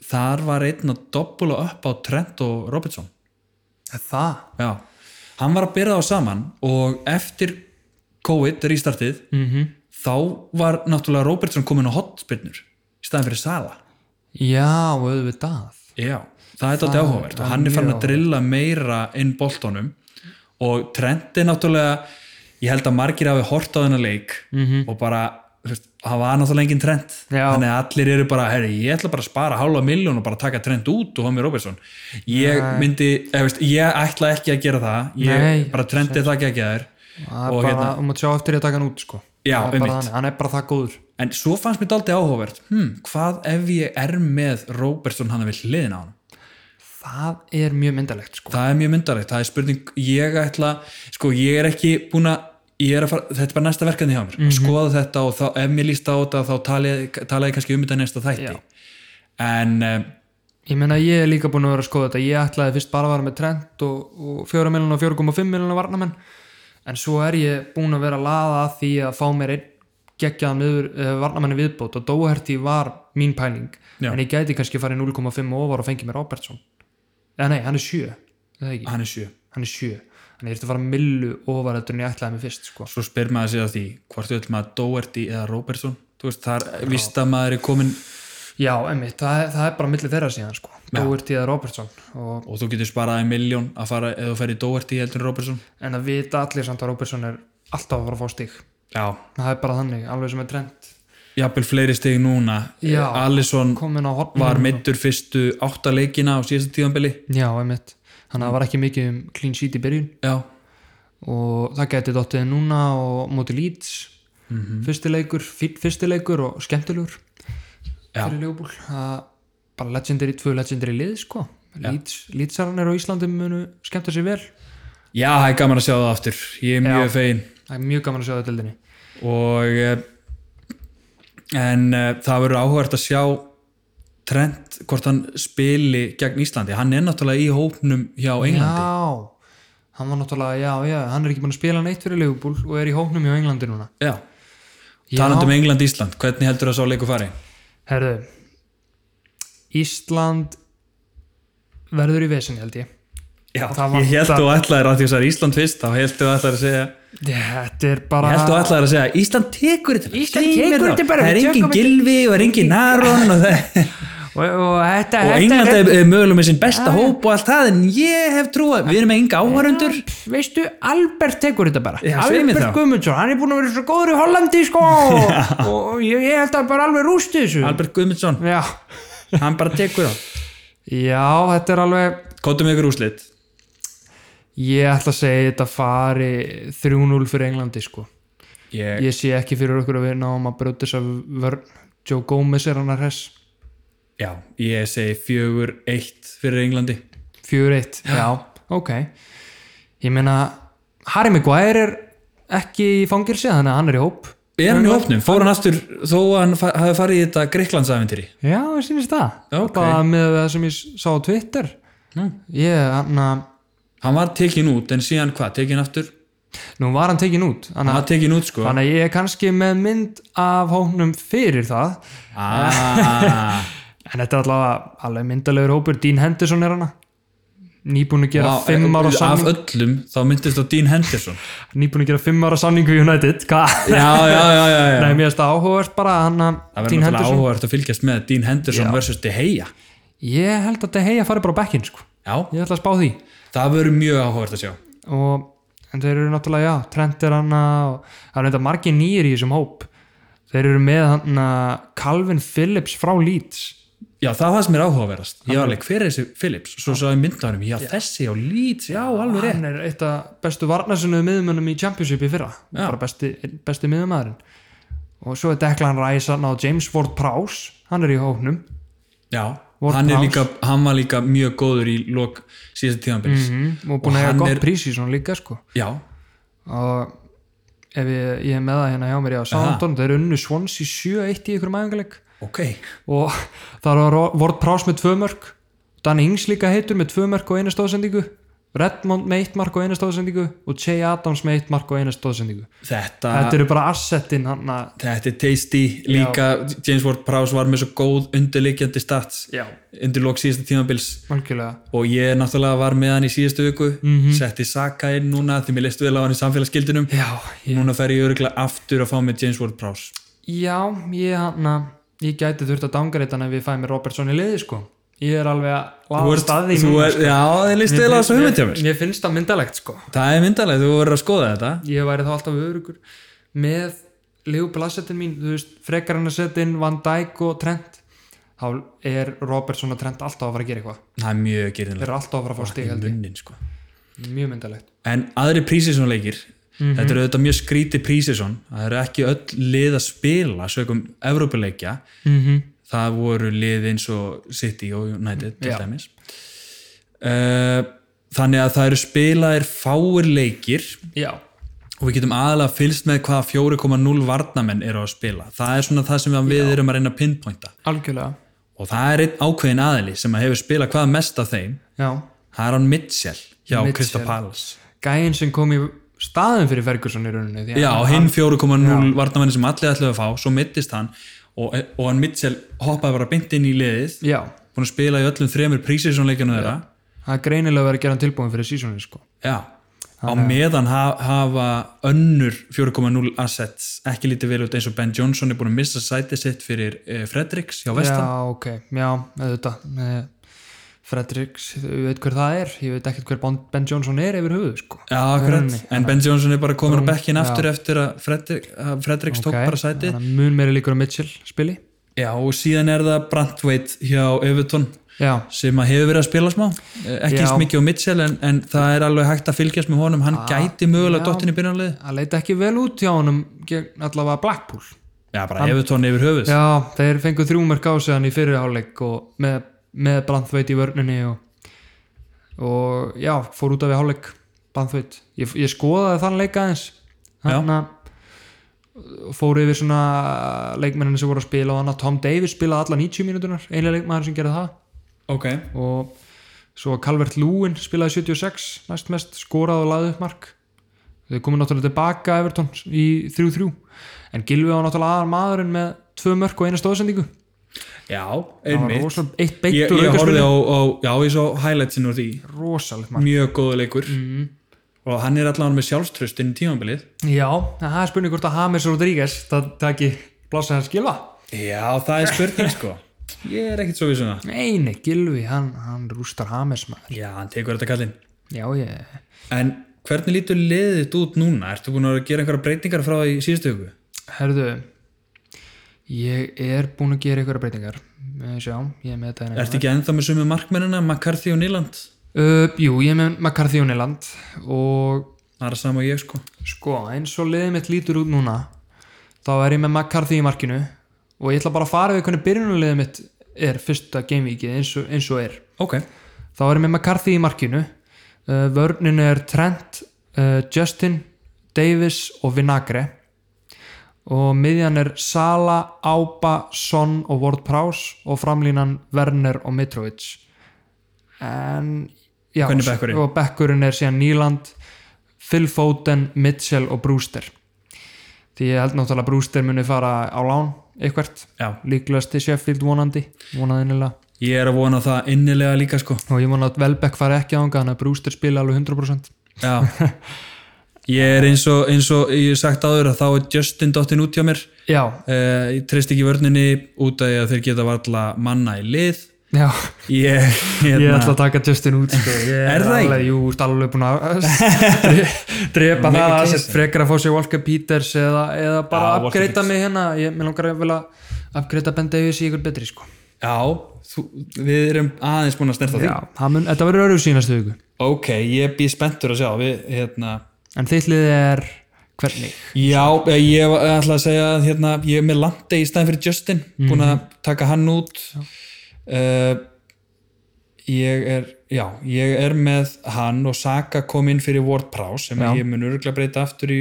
[SPEAKER 1] þar var einn að doppula upp á Trent og Robertson
[SPEAKER 2] Er það?
[SPEAKER 1] Já, hann var að byrja þá saman og eftir COVID restartið, -hmm. þá var náttúrulega Robertson komin á hotspinnur í staðin fyrir Sala
[SPEAKER 2] Já, auðvitað.
[SPEAKER 1] Já, það er þetta áhugavert og hann er farin að drilla meira inn boltanum og Trent er náttúrulega ég held að margir hafi hort á þennan leik -hmm. og bara, þú veist, það var náttúrulega engin Trent,
[SPEAKER 2] Já.
[SPEAKER 1] þannig að allir eru bara herri, ég ætla bara að spara hálfa miljón og bara taka Trent út og hafa mér Robertson ég myndi, eða veist, ég ætla ekki að gera það, ég
[SPEAKER 2] Nei,
[SPEAKER 1] bara Trent er það ekki að gera þér
[SPEAKER 2] Það er
[SPEAKER 1] Og
[SPEAKER 2] bara,
[SPEAKER 1] hérna-
[SPEAKER 2] um að sjá eftir ég að taka hann út, sko.
[SPEAKER 1] Já,
[SPEAKER 2] Það er bara
[SPEAKER 1] einmitt.
[SPEAKER 2] þannig. Hann er bara það góður.
[SPEAKER 1] en svo fannst mér daldið áhugavert hm, hvað ef ég er með Robertson hann að vil hliðin á hann
[SPEAKER 2] Það er mjög myndalegt, sko.
[SPEAKER 1] það er mjög myndarlegt, það er spurning ég ætla, sko ég er ekki búin að ég er að fara, þetta er bara næsta verkefni hjá mér
[SPEAKER 2] Mhm.
[SPEAKER 1] að skoða þetta og þá, ef mér líst á þetta þá tala ég tala ég kannski um þetta í næsta þætti
[SPEAKER 2] Já.
[SPEAKER 1] en um,
[SPEAKER 2] Ég meina, ég er líka búin að vera að skoða þetta. Ég ætlaði fyrst bara að vera með trend og, og 4 miljonar og 4,5 miljonar varnamenn. En svo er ég búin að vera að laða að því að fá mér einn geggjaðan miður, uh, varnamenni viðbót og Dóherty var mín pæling.
[SPEAKER 1] Já.
[SPEAKER 2] En ég gæti kannski að fara í 0,5 og ofar og fengi mér Robertson. Eða nei, hann er 7. Það er ekki.
[SPEAKER 1] hann er sjö
[SPEAKER 2] Hann er 7. Þannig ég ertu að fara millu ofar heldur en ég ætlaði mér fyrst, sko.
[SPEAKER 1] svo spyr maður sig að því, hvort öll maður Doherty eða Robertson, þú veist, þar víst að maður er komin
[SPEAKER 2] Já, emmitt, það, er- það er bara millir þeirra síðan sko Doherty eða Robertson og,
[SPEAKER 1] og þú getur sparaði miljón að fara eða þú ferði Doherty heldur en Robertson
[SPEAKER 2] en að vita allir samt að Robertson er alltaf að fara að fá stig
[SPEAKER 1] já,
[SPEAKER 2] það er bara þannig, alveg sem er trend
[SPEAKER 1] jafnvel fleiri stig núna
[SPEAKER 2] Já. Mhm.
[SPEAKER 1] Alisson
[SPEAKER 2] komin á hotn
[SPEAKER 1] var meittur fyrstu áttaleikina á síðasta tíðanbili
[SPEAKER 2] Já, emmitt, þannig að það var ekki mikið um clean sheet í byrjun
[SPEAKER 1] já,
[SPEAKER 2] og það gæti dottið núna og móti Leeds
[SPEAKER 1] Mhm.
[SPEAKER 2] fyrsti leikur, fyr, fyrsti leikur og skemmtilegur
[SPEAKER 1] Já.
[SPEAKER 2] fyrir Leopold það bara legendary, tvö legendary lið sko Leeds, Leedsararnir á Íslandi munu skemmta sér vel
[SPEAKER 1] Já, það er gaman að sjá það aftur Ég er mjög fegin
[SPEAKER 2] það er mjög gaman að sjá það til þinni
[SPEAKER 1] og eh, en eh, það verður áhugavert að sjá Trent, hvort hann spili gegn Íslandi, hann er náttúrulega í hópnum hjá Englandi
[SPEAKER 2] Já, hann var náttúrulega, já, já, hann er ekki búin að spila neitt fyrir Liverpool og er í hóknum hjá Englandi núna.
[SPEAKER 1] Já, talandi um England-Ísland hvernig heldur það sá leiku fari?
[SPEAKER 2] Herðu, Ísland verður í vesinni held ég.
[SPEAKER 1] Já,
[SPEAKER 2] Það
[SPEAKER 1] ég held
[SPEAKER 2] vantar-
[SPEAKER 1] þú ætlaðir að því að það er Ísland fyrst þá held þú ætlaðir að segja
[SPEAKER 2] Þetta er
[SPEAKER 1] Ég
[SPEAKER 2] bara...
[SPEAKER 1] held þú ætlaðir að segja, Ísland tekur þetta
[SPEAKER 2] Ísland
[SPEAKER 1] Sýnir
[SPEAKER 2] tekur
[SPEAKER 1] þá.
[SPEAKER 2] þetta bara,
[SPEAKER 1] Það er
[SPEAKER 2] við
[SPEAKER 1] engin
[SPEAKER 2] tökum
[SPEAKER 1] gilvi og það er engin naron og, það-
[SPEAKER 2] Og, og þetta,
[SPEAKER 1] og
[SPEAKER 2] þetta
[SPEAKER 1] England er, er mögulega með sinn besta hóp og allt það en ég hef trúið, við erum með enga áhörundur
[SPEAKER 2] Veistu, Albert tekur þetta bara.
[SPEAKER 1] Já, segðu mér
[SPEAKER 2] Albert
[SPEAKER 1] þá.
[SPEAKER 2] Guðmundsson, hann er búin að vera svo góður í Hollandi,
[SPEAKER 1] <laughs>
[SPEAKER 2] sko. og ég, ég held að hann bara alveg rústi þessu.
[SPEAKER 1] Albert Guðmundsson,
[SPEAKER 2] Já.
[SPEAKER 1] hann bara tekur það
[SPEAKER 2] Já, þetta er alveg...
[SPEAKER 1] Kóttum ykkur úrslit
[SPEAKER 2] Ég ætla að segja að þetta fari 3-0 fyrir Englandi, sko.
[SPEAKER 1] ég,
[SPEAKER 2] ég sé ekki fyrir okkur að við náum að brjóta þess að vörn Joe Gomez er hann að hress
[SPEAKER 1] Já, ég segi fjögur eitt fyrir Englandi
[SPEAKER 2] 4-1, já, ok ég meina Harry Maguire er ekki í fangilsi þannig að hann er í hóp
[SPEAKER 1] Er hann í hópnum? Fór hann aftur þó að hann fa- hafi farið í þetta Greiklandsæventýri
[SPEAKER 2] já, ég sýnist það
[SPEAKER 1] Ok.
[SPEAKER 2] bara með það sem ég s- sá á Twitter Hm.
[SPEAKER 1] Nú.
[SPEAKER 2] ég, hann að
[SPEAKER 1] Hann var tekin út en síðan hvað, tekin aftur?
[SPEAKER 2] nú var hann tekin út
[SPEAKER 1] Hann
[SPEAKER 2] þannig
[SPEAKER 1] var tekin út sko
[SPEAKER 2] að- þannig að ég er kannski með mynd af hóknum fyrir það
[SPEAKER 1] ah, <laughs>
[SPEAKER 2] en þetta er allavega alveg myndalegur hópur Dean Henderson er hana nýbúin að gera
[SPEAKER 1] á,
[SPEAKER 2] 5 ára samning
[SPEAKER 1] Af öllum þá myndist á Dean Henderson
[SPEAKER 2] nýbúin að gera fimm ára samningu í United hvað?
[SPEAKER 1] <laughs> Já, já, já, já, já.
[SPEAKER 2] <laughs> Nei, mér finnst það áhugavert bara að hann
[SPEAKER 1] Það
[SPEAKER 2] að
[SPEAKER 1] verður
[SPEAKER 2] Dean
[SPEAKER 1] náttúrulega
[SPEAKER 2] Henderson
[SPEAKER 1] áhugavert að fylgjast með Dean Henderson
[SPEAKER 2] Já.
[SPEAKER 1] versus De Gea
[SPEAKER 2] ég held að De Gea fari bara á bekkinn sko.
[SPEAKER 1] Já,
[SPEAKER 2] ég ætla að spá því
[SPEAKER 1] það verður mjög áhugavert að sjá
[SPEAKER 2] og, en þeir eru náttúrulega, já, Trent er hann og það er þetta margir nýjir í þessum hóp þeir eru með hann að Calvin Phillips frá Leeds
[SPEAKER 1] Já, það var það sem er áhugaverðast. Ég var alveg, hver er þessi Phillips? Svo svo ég mynda hann um, já, þessi á lít, já, alveg rétt.
[SPEAKER 2] hann er eitt af bestu varnarsunniðu miðumönnum í Championship í fyrra bara besti, einn besti miðumæðurinn og svo er Declan Rice hann á James Ward Prowse, hann er í hóknum
[SPEAKER 1] Já,
[SPEAKER 2] Ward
[SPEAKER 1] hann, er
[SPEAKER 2] Prowse.
[SPEAKER 1] líka, hann var líka mjög góður í lok síðasta tímanbils.
[SPEAKER 2] Mm, og búin að
[SPEAKER 1] Mm. hann
[SPEAKER 2] hega
[SPEAKER 1] er-
[SPEAKER 2] gott prísi svona líka sko
[SPEAKER 1] Já,
[SPEAKER 2] og ef ég, ég er með það hérna hjá mér já, Southampton, þeir unnu Swansea 7-1 í ykkur mæðingaleg
[SPEAKER 1] ok.
[SPEAKER 2] og <laughs> þar var Ward Prowse með tvö mörg Dan Ings líka heitur með tvö mörg og einu stóðsendingu Redmond með eitt mark og eina stóðsendingu og Jay Adams með eitt mark og eina stóðsendingu
[SPEAKER 1] þetta,
[SPEAKER 2] þetta eru bara assetin hann að
[SPEAKER 1] þetta er tasty líka James Ward-Prowse var með svo góð undirleikjandi stats
[SPEAKER 2] já,
[SPEAKER 1] undir lók síðasta tímabils
[SPEAKER 2] algjörlega
[SPEAKER 1] og ég náttúrulega var með hann í síðustu viku setti Saka inn núna því mér leist vel á hann í samfélagsgildinum
[SPEAKER 2] já, ég,
[SPEAKER 1] núna fer ég örgulega aftur að fá með James Ward-Prowse
[SPEAKER 2] já, ég hann að ég gæti þurft að dangreita hann ef ég fæ mér Robertson í liði sko ég er alveg að
[SPEAKER 1] Þú
[SPEAKER 2] laga
[SPEAKER 1] ert-
[SPEAKER 2] staði
[SPEAKER 1] þú er, já, þið líst vel á þessu hugmynd hjá sko. mér
[SPEAKER 2] mér finnst það myndalegt sko
[SPEAKER 1] það er myndalega, þú verður að skoða þetta
[SPEAKER 2] ég væri þá alltaf örugur með Leopold assetin mín þú veist, frekar hann að setja inn Van Dijk og Trent þá er Robertson og Trent alltaf að fara að gera eitthvað
[SPEAKER 1] það er mjög
[SPEAKER 2] þeir
[SPEAKER 1] gerðinlega
[SPEAKER 2] eru alltaf að fara að fá stig held ég.
[SPEAKER 1] munnin sko
[SPEAKER 2] mjög myndalegt
[SPEAKER 1] en aðri prísisónleikir
[SPEAKER 2] Mhm.
[SPEAKER 1] þetta eru auðvitað mjög skrítið prísisón það eru ekki öll lið að spila sögum Evrópuleikja
[SPEAKER 2] mm -hmm.
[SPEAKER 1] það voru lið eins og City og United til
[SPEAKER 2] Já.
[SPEAKER 1] dæmis uh, þannig að það eru spilaðir fáir leikir
[SPEAKER 2] já,
[SPEAKER 1] og við getum aðalega fylst með hvaða 4,0 varnamenn eru að spila það er svona það sem að við erum að reyna að pinpointa
[SPEAKER 2] algjörlega
[SPEAKER 1] og það er einn ákveðin aðili sem að hefur spilað hvað mest af þeim
[SPEAKER 2] já.
[SPEAKER 1] það er hann Mitchell hjá
[SPEAKER 2] Mitchell.
[SPEAKER 1] Crystal Palace
[SPEAKER 2] gæin sem kom í staðin fyrir Ferguson í rauninni því að
[SPEAKER 1] Já,
[SPEAKER 2] hann-
[SPEAKER 1] hinn 4,0 varnamenni sem allir ætlaði að fá, svo mittist hann og, og hann Mitchell hoppaði bara beint inn í liðið,
[SPEAKER 2] já,
[SPEAKER 1] búin að spila í öllum þremur prísisónleikjana þeirra
[SPEAKER 2] það er greinilega verið að gera hann tilbúin fyrir sísónu sko.
[SPEAKER 1] Já, á meðan ha- hafa önnur 4,0 assets ekki lítið vel út eins og Ben Johnson er búin að missa sætið sitt fyrir eh, Fredericks hjá
[SPEAKER 2] já,
[SPEAKER 1] Vestam
[SPEAKER 2] ok, já, auðvitað Eh, Fredericks, ég veit hver það er ég veit ekkert hver Bon- Ben Johnson er yfir höfuð sko.
[SPEAKER 1] Já, akkurat,
[SPEAKER 2] Þannig,
[SPEAKER 1] en Ben Johnson er bara komin á bekkin
[SPEAKER 2] já.
[SPEAKER 1] aftur eftir að Frederik, að Fredericks tók
[SPEAKER 2] Ok,
[SPEAKER 1] bara sætið
[SPEAKER 2] þannig að mun meiri líkur á Mitchell spili
[SPEAKER 1] Já, og síðan er það Brantwaite hjá Everton
[SPEAKER 2] já,
[SPEAKER 1] sem að hefur verið að spila smá Eh, ekki
[SPEAKER 2] Já.
[SPEAKER 1] eins mikið á Mitchell en, en það er alveg hægt að fylgjast með honum hann gæti mögulega
[SPEAKER 2] Ah, já.
[SPEAKER 1] dottin í byrjanlið
[SPEAKER 2] það leita ekki vel út hjá honum gegn allavega Blackpool
[SPEAKER 1] Já, bara Evertón yfir höfuð
[SPEAKER 2] já, þeir fengu þrjúmerk á sig hann í fyrirháleik og með, með Branthveit í vörninni og, og já, fór út af við háleik Branthveit, ég, ég skoðaði þann leik aðeins hann að fór yfir svona leikmennin sem voru að spila og hann að Tom Davis spilaði alla 90 mínútunar, einlega leikmaður sem gerði það
[SPEAKER 1] Ok,
[SPEAKER 2] og svo Calvert Lúin spilaði 76 næst mest, skoraði og laði upp mark þau komið náttúrulega tilbaka Everton í 3-3 en Gilvi var náttúrulega aðal maðurinn með tvö mörk og eina stóðsendingu
[SPEAKER 1] já,
[SPEAKER 2] það var
[SPEAKER 1] einmitt
[SPEAKER 2] rosa, eitt
[SPEAKER 1] Ég,
[SPEAKER 2] beitt úr
[SPEAKER 1] ég horfði
[SPEAKER 2] aukaspilinu
[SPEAKER 1] á, á, já, ég svo highlightsin úr því
[SPEAKER 2] rosalegt mark
[SPEAKER 1] mjög góðu leikur
[SPEAKER 2] Mhm.
[SPEAKER 1] og hann er allavega með sjálfströst inn í tímabilið
[SPEAKER 2] já, en það er spurning hvort að Hamis Rodríguez það taki blása hans Gilva
[SPEAKER 1] Já, það er spurning sko <laughs> Ég er ekkit svo um við svona
[SPEAKER 2] nei, nei, Gilvi, hann, hann rústar Hamis maður
[SPEAKER 1] Já, hann tekur þetta kallinn
[SPEAKER 2] já, ég
[SPEAKER 1] En hvernig lítur liðið þetta út núna? Ertu búin að gera einhverja breytingar frá því í síðustu hugu?
[SPEAKER 2] herðu ég er búinn að gera einhverja breytingar Eh, sjá, ég er með þetta hérna.
[SPEAKER 1] Ertu ekki ennþá með sumu markmennina, McCarthy og Nýland?
[SPEAKER 2] Uh, jú, ég er með McCarthy og Neyland og
[SPEAKER 1] Það er sama og ég sko
[SPEAKER 2] sko, eins og liðið mitt lítur út núna þá er ég með McCarthy í markinu og ég ætla bara að fara við hvernig byrjunulegið mitt er fyrsta gamevikið eins, og- eins og er
[SPEAKER 1] Ok,
[SPEAKER 2] þá er ég með McCarthy í markinu uh, vörninu er Trent uh, Justin, Davis og Vinagre og miðjan er Sala, Ába Son og Ward Prowse og framlínan Werner og Mitrovic en já,
[SPEAKER 1] Hvernig er bekkurinn?
[SPEAKER 2] og bekkurinn er síðan Nýland Phil Foden, Mitchell og Brewster því ég held náttúrulega að Brewster muni fara á lán eitthvert,
[SPEAKER 1] já
[SPEAKER 2] líklegast til Sheffield vonandi, vonaði innilega
[SPEAKER 1] Ég er að vona það innilega líka sko
[SPEAKER 2] og ég vona að Velbeck fari ekki ánga þannig að Brewster spila alveg 100%
[SPEAKER 1] Já
[SPEAKER 2] <laughs>
[SPEAKER 1] Ég er eins og, eins og ég hef sagt áður að þá er Justin dottin út hjá mér
[SPEAKER 2] já,
[SPEAKER 1] uh, Ég treyst ekki vörninni út af því að þeir geta varla manna í lið
[SPEAKER 2] já,
[SPEAKER 1] Ég,
[SPEAKER 2] <laughs> ég
[SPEAKER 1] hérna,
[SPEAKER 2] ætla að taka Justin út sko. Ég
[SPEAKER 1] <laughs> Er það
[SPEAKER 2] alveg, jú, ert alveg búin
[SPEAKER 1] <laughs>
[SPEAKER 2] að dre- drepa
[SPEAKER 1] Mikið
[SPEAKER 2] það að
[SPEAKER 1] kisa.
[SPEAKER 2] sett frekar að fá sér Walker Peters eða,
[SPEAKER 1] Já,
[SPEAKER 2] eða bara að
[SPEAKER 1] Walker
[SPEAKER 2] upgreita mig hérna ég mér langar að vilja upgreita Ben Davies í ykkur betri sko.
[SPEAKER 1] Já, þú, við erum aðeins búin að snerta því
[SPEAKER 2] já, það mun, þetta verður öðru sínastu viku
[SPEAKER 1] Ok, ég býð spenntur að sjá við, hérna,
[SPEAKER 2] en þitt lið er hvernig
[SPEAKER 1] Já, eh, ég var- ætla að segja að hérna, ég er með Landi í staðin fyrir Justin búin
[SPEAKER 2] Mhm.
[SPEAKER 1] að taka hann út uh, Ég er já, ég er með hann og Saka kom inn fyrir Ward Prowse sem
[SPEAKER 2] Já.
[SPEAKER 1] ég mun örgulega breyta aftur í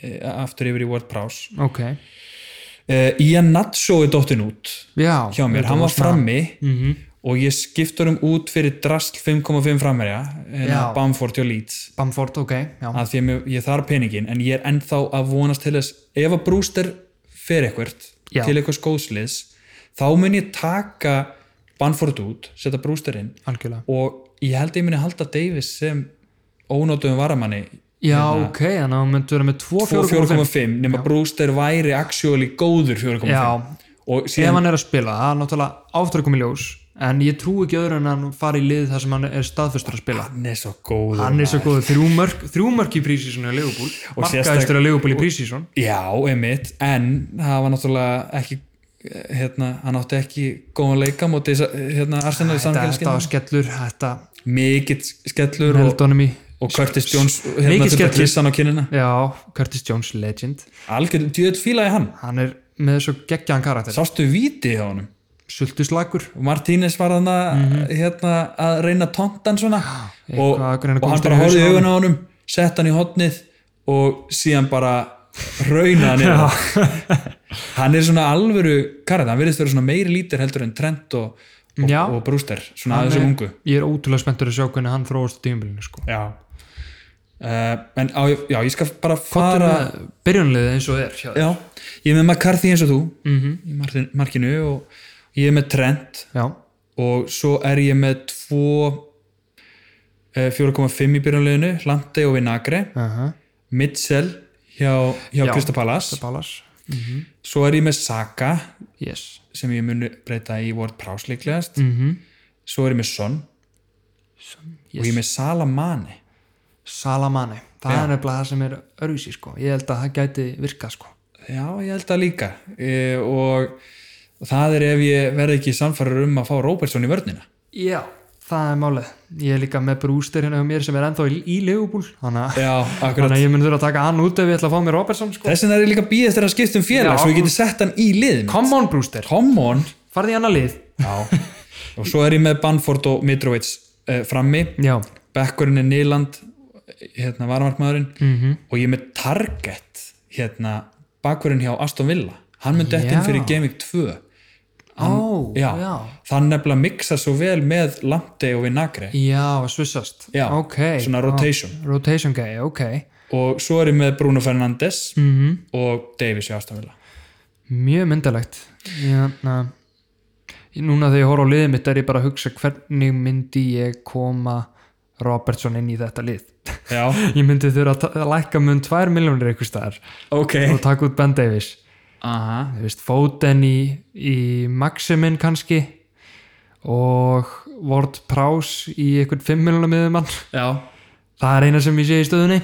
[SPEAKER 1] eh, aftur yfir í Ward Prowse
[SPEAKER 2] ok,
[SPEAKER 1] uh, Ian Nacho er dóttin út
[SPEAKER 2] já
[SPEAKER 1] hjá mér, hann var frammi
[SPEAKER 2] mm
[SPEAKER 1] og ég skiptur um út fyrir drast 5,5 framherja hérna
[SPEAKER 2] Já.
[SPEAKER 1] Bamford og Leeds
[SPEAKER 2] Bamford, ok, já,
[SPEAKER 1] að því að mér- ég þarf peningin en ég er ennþá að vonast til þess ef að Brewster fer eitthvert
[SPEAKER 2] Já.
[SPEAKER 1] til eitthvað skóðsliðs þá mun ég taka Banford út, setja Brewster inn
[SPEAKER 2] algjörlega
[SPEAKER 1] og ég held að ég muni halda Davis sem ónótuðum varamanni
[SPEAKER 2] Já,
[SPEAKER 1] Hérna.
[SPEAKER 2] ok, þannig að hún myndi vera með 2, 4,5
[SPEAKER 1] 4,5 nema Brewster væri actually góður 4,5
[SPEAKER 2] Já,
[SPEAKER 1] og
[SPEAKER 2] ef
[SPEAKER 1] síðan
[SPEAKER 2] hann er að spila, það er náttúrulega áttökum í ljós en ég trú ekki öðru en að hann fari í lið þar sem hann er staðfestur að spila
[SPEAKER 1] hann er svo góður
[SPEAKER 2] Hann er
[SPEAKER 1] maður.
[SPEAKER 2] svo góð, þrjú mörk, þrjú mörk í prísísonu að Leopold,
[SPEAKER 1] Og
[SPEAKER 2] markaðistur
[SPEAKER 1] sérstak-
[SPEAKER 2] að Leopold í prísíson
[SPEAKER 1] Já, einmitt, en það var náttúrulega ekki eh, hérna, hann átti ekki góðan leika móti hérna, Arsenal í
[SPEAKER 2] Þetta, þetta var
[SPEAKER 1] samfélagskinu
[SPEAKER 2] skellur, þetta
[SPEAKER 1] mikill skellur og,
[SPEAKER 2] heldunum í
[SPEAKER 1] og Curtis Jones hérna, þurfti
[SPEAKER 2] Mikill
[SPEAKER 1] að
[SPEAKER 2] skellur.
[SPEAKER 1] kissa hann á kinnina
[SPEAKER 2] Já, Curtis Jones legend
[SPEAKER 1] algjörðum djöðl fílaði hann
[SPEAKER 2] Hann er með svo geggjaðan karakter
[SPEAKER 1] sástu víti hjá honum
[SPEAKER 2] Sultuslagur
[SPEAKER 1] og Martínez var hann hérna, að reyna tóntan svona og,
[SPEAKER 2] Mhm. Eitthvað, hvernig hann
[SPEAKER 1] og hann
[SPEAKER 2] komst
[SPEAKER 1] bara
[SPEAKER 2] í
[SPEAKER 1] horfði í
[SPEAKER 2] hausinn
[SPEAKER 1] augun
[SPEAKER 2] á
[SPEAKER 1] á honum sett hann í hotnið og síðan bara rauna hann yfir. hann er svona alvöru karð, hann virðist vera svona meiri lítir heldur en Trent og, og,
[SPEAKER 2] Já.
[SPEAKER 1] og Brewster svona
[SPEAKER 2] Hann
[SPEAKER 1] aðeins um
[SPEAKER 2] er-
[SPEAKER 1] ungu
[SPEAKER 2] Ég er ótrúlega spenntur að sjá hvernig hann þróast á tímabilinu sko.
[SPEAKER 1] já. Uh, en á, já, ég skal bara
[SPEAKER 2] Bara
[SPEAKER 1] fara
[SPEAKER 2] byrjunliðið um, eh, eins og er hjá þér.
[SPEAKER 1] já, ég er með McCarthy eins og þú
[SPEAKER 2] Mhm.
[SPEAKER 1] í markin, markinu og ég er með Trent
[SPEAKER 2] Já,
[SPEAKER 1] og svo er ég með 2 eh, 4,5 í byrjunleginu Lante og Vinagre,
[SPEAKER 2] uh -huh.
[SPEAKER 1] Mitchell hjá, hjá
[SPEAKER 2] Já.
[SPEAKER 1] Krista Palas
[SPEAKER 2] Balas
[SPEAKER 1] svo er ég með Saka
[SPEAKER 2] Yes
[SPEAKER 1] sem ég muni breyta í Ward Prowse líklegast
[SPEAKER 2] mm -hmm.
[SPEAKER 1] svo er ég með Son og ég er með Salamani
[SPEAKER 2] Salamani, það
[SPEAKER 1] Já.
[SPEAKER 2] er nefnilega það sem er örvísi sko. Ég held að það gæti virkað sko.
[SPEAKER 1] já, ég held að líka e, og það er ef ég verð ekki samfærar um að fá Robertson í vörnina
[SPEAKER 2] Já, það er málið Ég er líka með brústir hérna hjá mér sem er ennþá í, í Leopold Þannig að-
[SPEAKER 1] já,
[SPEAKER 2] þannig
[SPEAKER 1] akkurat
[SPEAKER 2] að ég mun þurfa að taka hann út ef ég ætla að fá mér Robertson sko.
[SPEAKER 1] þess vegna er ég líka býðist þegar að skipta um félag
[SPEAKER 2] Já.
[SPEAKER 1] svo ég geti sett hann í liðin
[SPEAKER 2] Come on brústir,
[SPEAKER 1] come on
[SPEAKER 2] farði í annað lið
[SPEAKER 1] Já, <laughs> og svo er ég með Banford og Mitrovic uh, frammi,
[SPEAKER 2] Já,
[SPEAKER 1] bekkurinn er Nýland hérna varamarkmaðurinn
[SPEAKER 2] Mhm.
[SPEAKER 1] og ég er með Target hérna bakkurinn hjá Aston Villa hann myndi ekki inn
[SPEAKER 2] Já.
[SPEAKER 1] fyrir Gaming 2
[SPEAKER 2] ó,
[SPEAKER 1] já,
[SPEAKER 2] já
[SPEAKER 1] þann nefnilega mixa svo vel með Lamptey og Vinagre
[SPEAKER 2] Já, að svissast
[SPEAKER 1] Já,
[SPEAKER 2] ok
[SPEAKER 1] svona rotation.
[SPEAKER 2] Ó, Rotation gay, ok
[SPEAKER 1] og svo er ég með Bruno Fernandes
[SPEAKER 2] mm
[SPEAKER 1] og Davies hjá Aston Villa
[SPEAKER 2] Mjög myndalegt Jana, Núna þegar ég horf á liðið mitt er ég bara að hugsa hvernig myndi ég koma Robertson inn í þetta lið <laughs>
[SPEAKER 1] Já,
[SPEAKER 2] Ég myndi þurfa að ta- að lækka mun 2 miljónir einhvers staðar
[SPEAKER 1] ok
[SPEAKER 2] og taka út Ben Davies
[SPEAKER 1] Aha.
[SPEAKER 2] Þú veist, Foden í, í Maximin kannski og Ward Prowse í einhvern 5 miljónum miðumann
[SPEAKER 1] Já,
[SPEAKER 2] Það er eina sem ég sé í stöðunni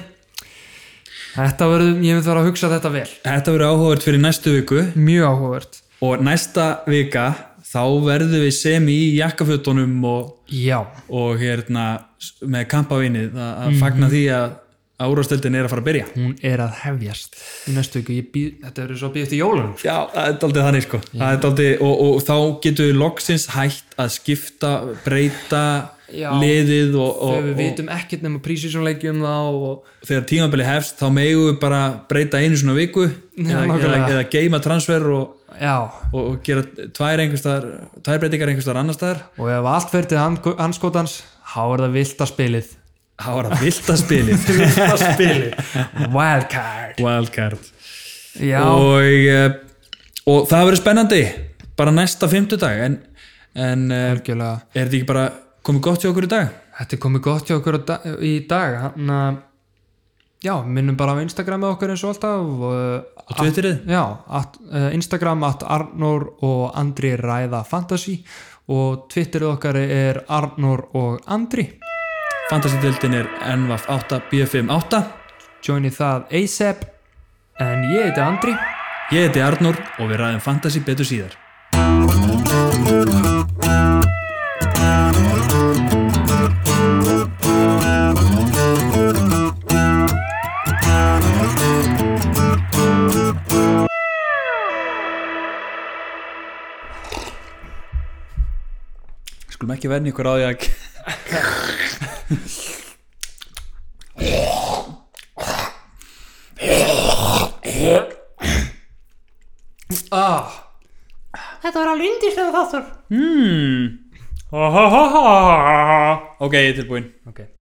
[SPEAKER 2] Þetta verður, ég myndi þurfa að hugsa þetta vel
[SPEAKER 1] þetta verður áhugavert fyrir næstu viku
[SPEAKER 2] Mjög áhugavert
[SPEAKER 1] og næsta vika þá verðum við semi í jakkafötunum og,
[SPEAKER 2] Já,
[SPEAKER 1] og hérna s- með kampavinnið að að
[SPEAKER 2] Mhm.
[SPEAKER 1] fagna því að árástöldin er að fara að byrja
[SPEAKER 2] hún er að hefjast í næstu viku, ég býð, þetta verður svo að býð eftir jólunum sko.
[SPEAKER 1] Já, það er daldið þannig sko Það er daldið, og, og þá getum við loksins hægt að skipta, breyta
[SPEAKER 2] Já.
[SPEAKER 1] liðið og, og,
[SPEAKER 2] þegar við
[SPEAKER 1] og,
[SPEAKER 2] vitum ekkert nema prísísjónleikjum þá og
[SPEAKER 1] þegar tímabili hefst þá megum við bara breyta einu svona viku eða, eða,
[SPEAKER 2] nákvæmlega.
[SPEAKER 1] eða geima transfer og,
[SPEAKER 2] já,
[SPEAKER 1] og, og gera tvær, einhvers staðar- tvær breytingar einhverstaðar annar staðar
[SPEAKER 2] og ef allt verður til andg- andskotans þá er það vilda spilið
[SPEAKER 1] Það var að vilda spilið
[SPEAKER 2] vilda spilið <laughs> wildcard
[SPEAKER 1] Wildcard
[SPEAKER 2] já,
[SPEAKER 1] og, eh, og það verður spennandi bara næsta fymtudag en, en eh,
[SPEAKER 2] algjörlega
[SPEAKER 1] er þetta ekki bara komið gott hjá okkur í dag?
[SPEAKER 2] þetta er komið gott hjá okkur á da- í dag hann að já, minnum bara á Instagramið okkur eins og alltaf og,
[SPEAKER 1] og Twitterið?
[SPEAKER 2] Já, at, uh, Instagram at Arnór og Andri ræða fantasy og Twitterið okkar er Arnór og Andri
[SPEAKER 1] Fantasy-dildin er NVAF 8 B58
[SPEAKER 2] joini það ASAP en ég heiti Andri
[SPEAKER 1] ég heiti Arnur og við ræðum Fantasy betur síðar Skulum ekki verðin ykkur á því að
[SPEAKER 2] ah, Ah.
[SPEAKER 3] Þetta var alveg yndislega þáttur.
[SPEAKER 1] hmm,
[SPEAKER 2] ok,
[SPEAKER 1] ok, ég er tilbúin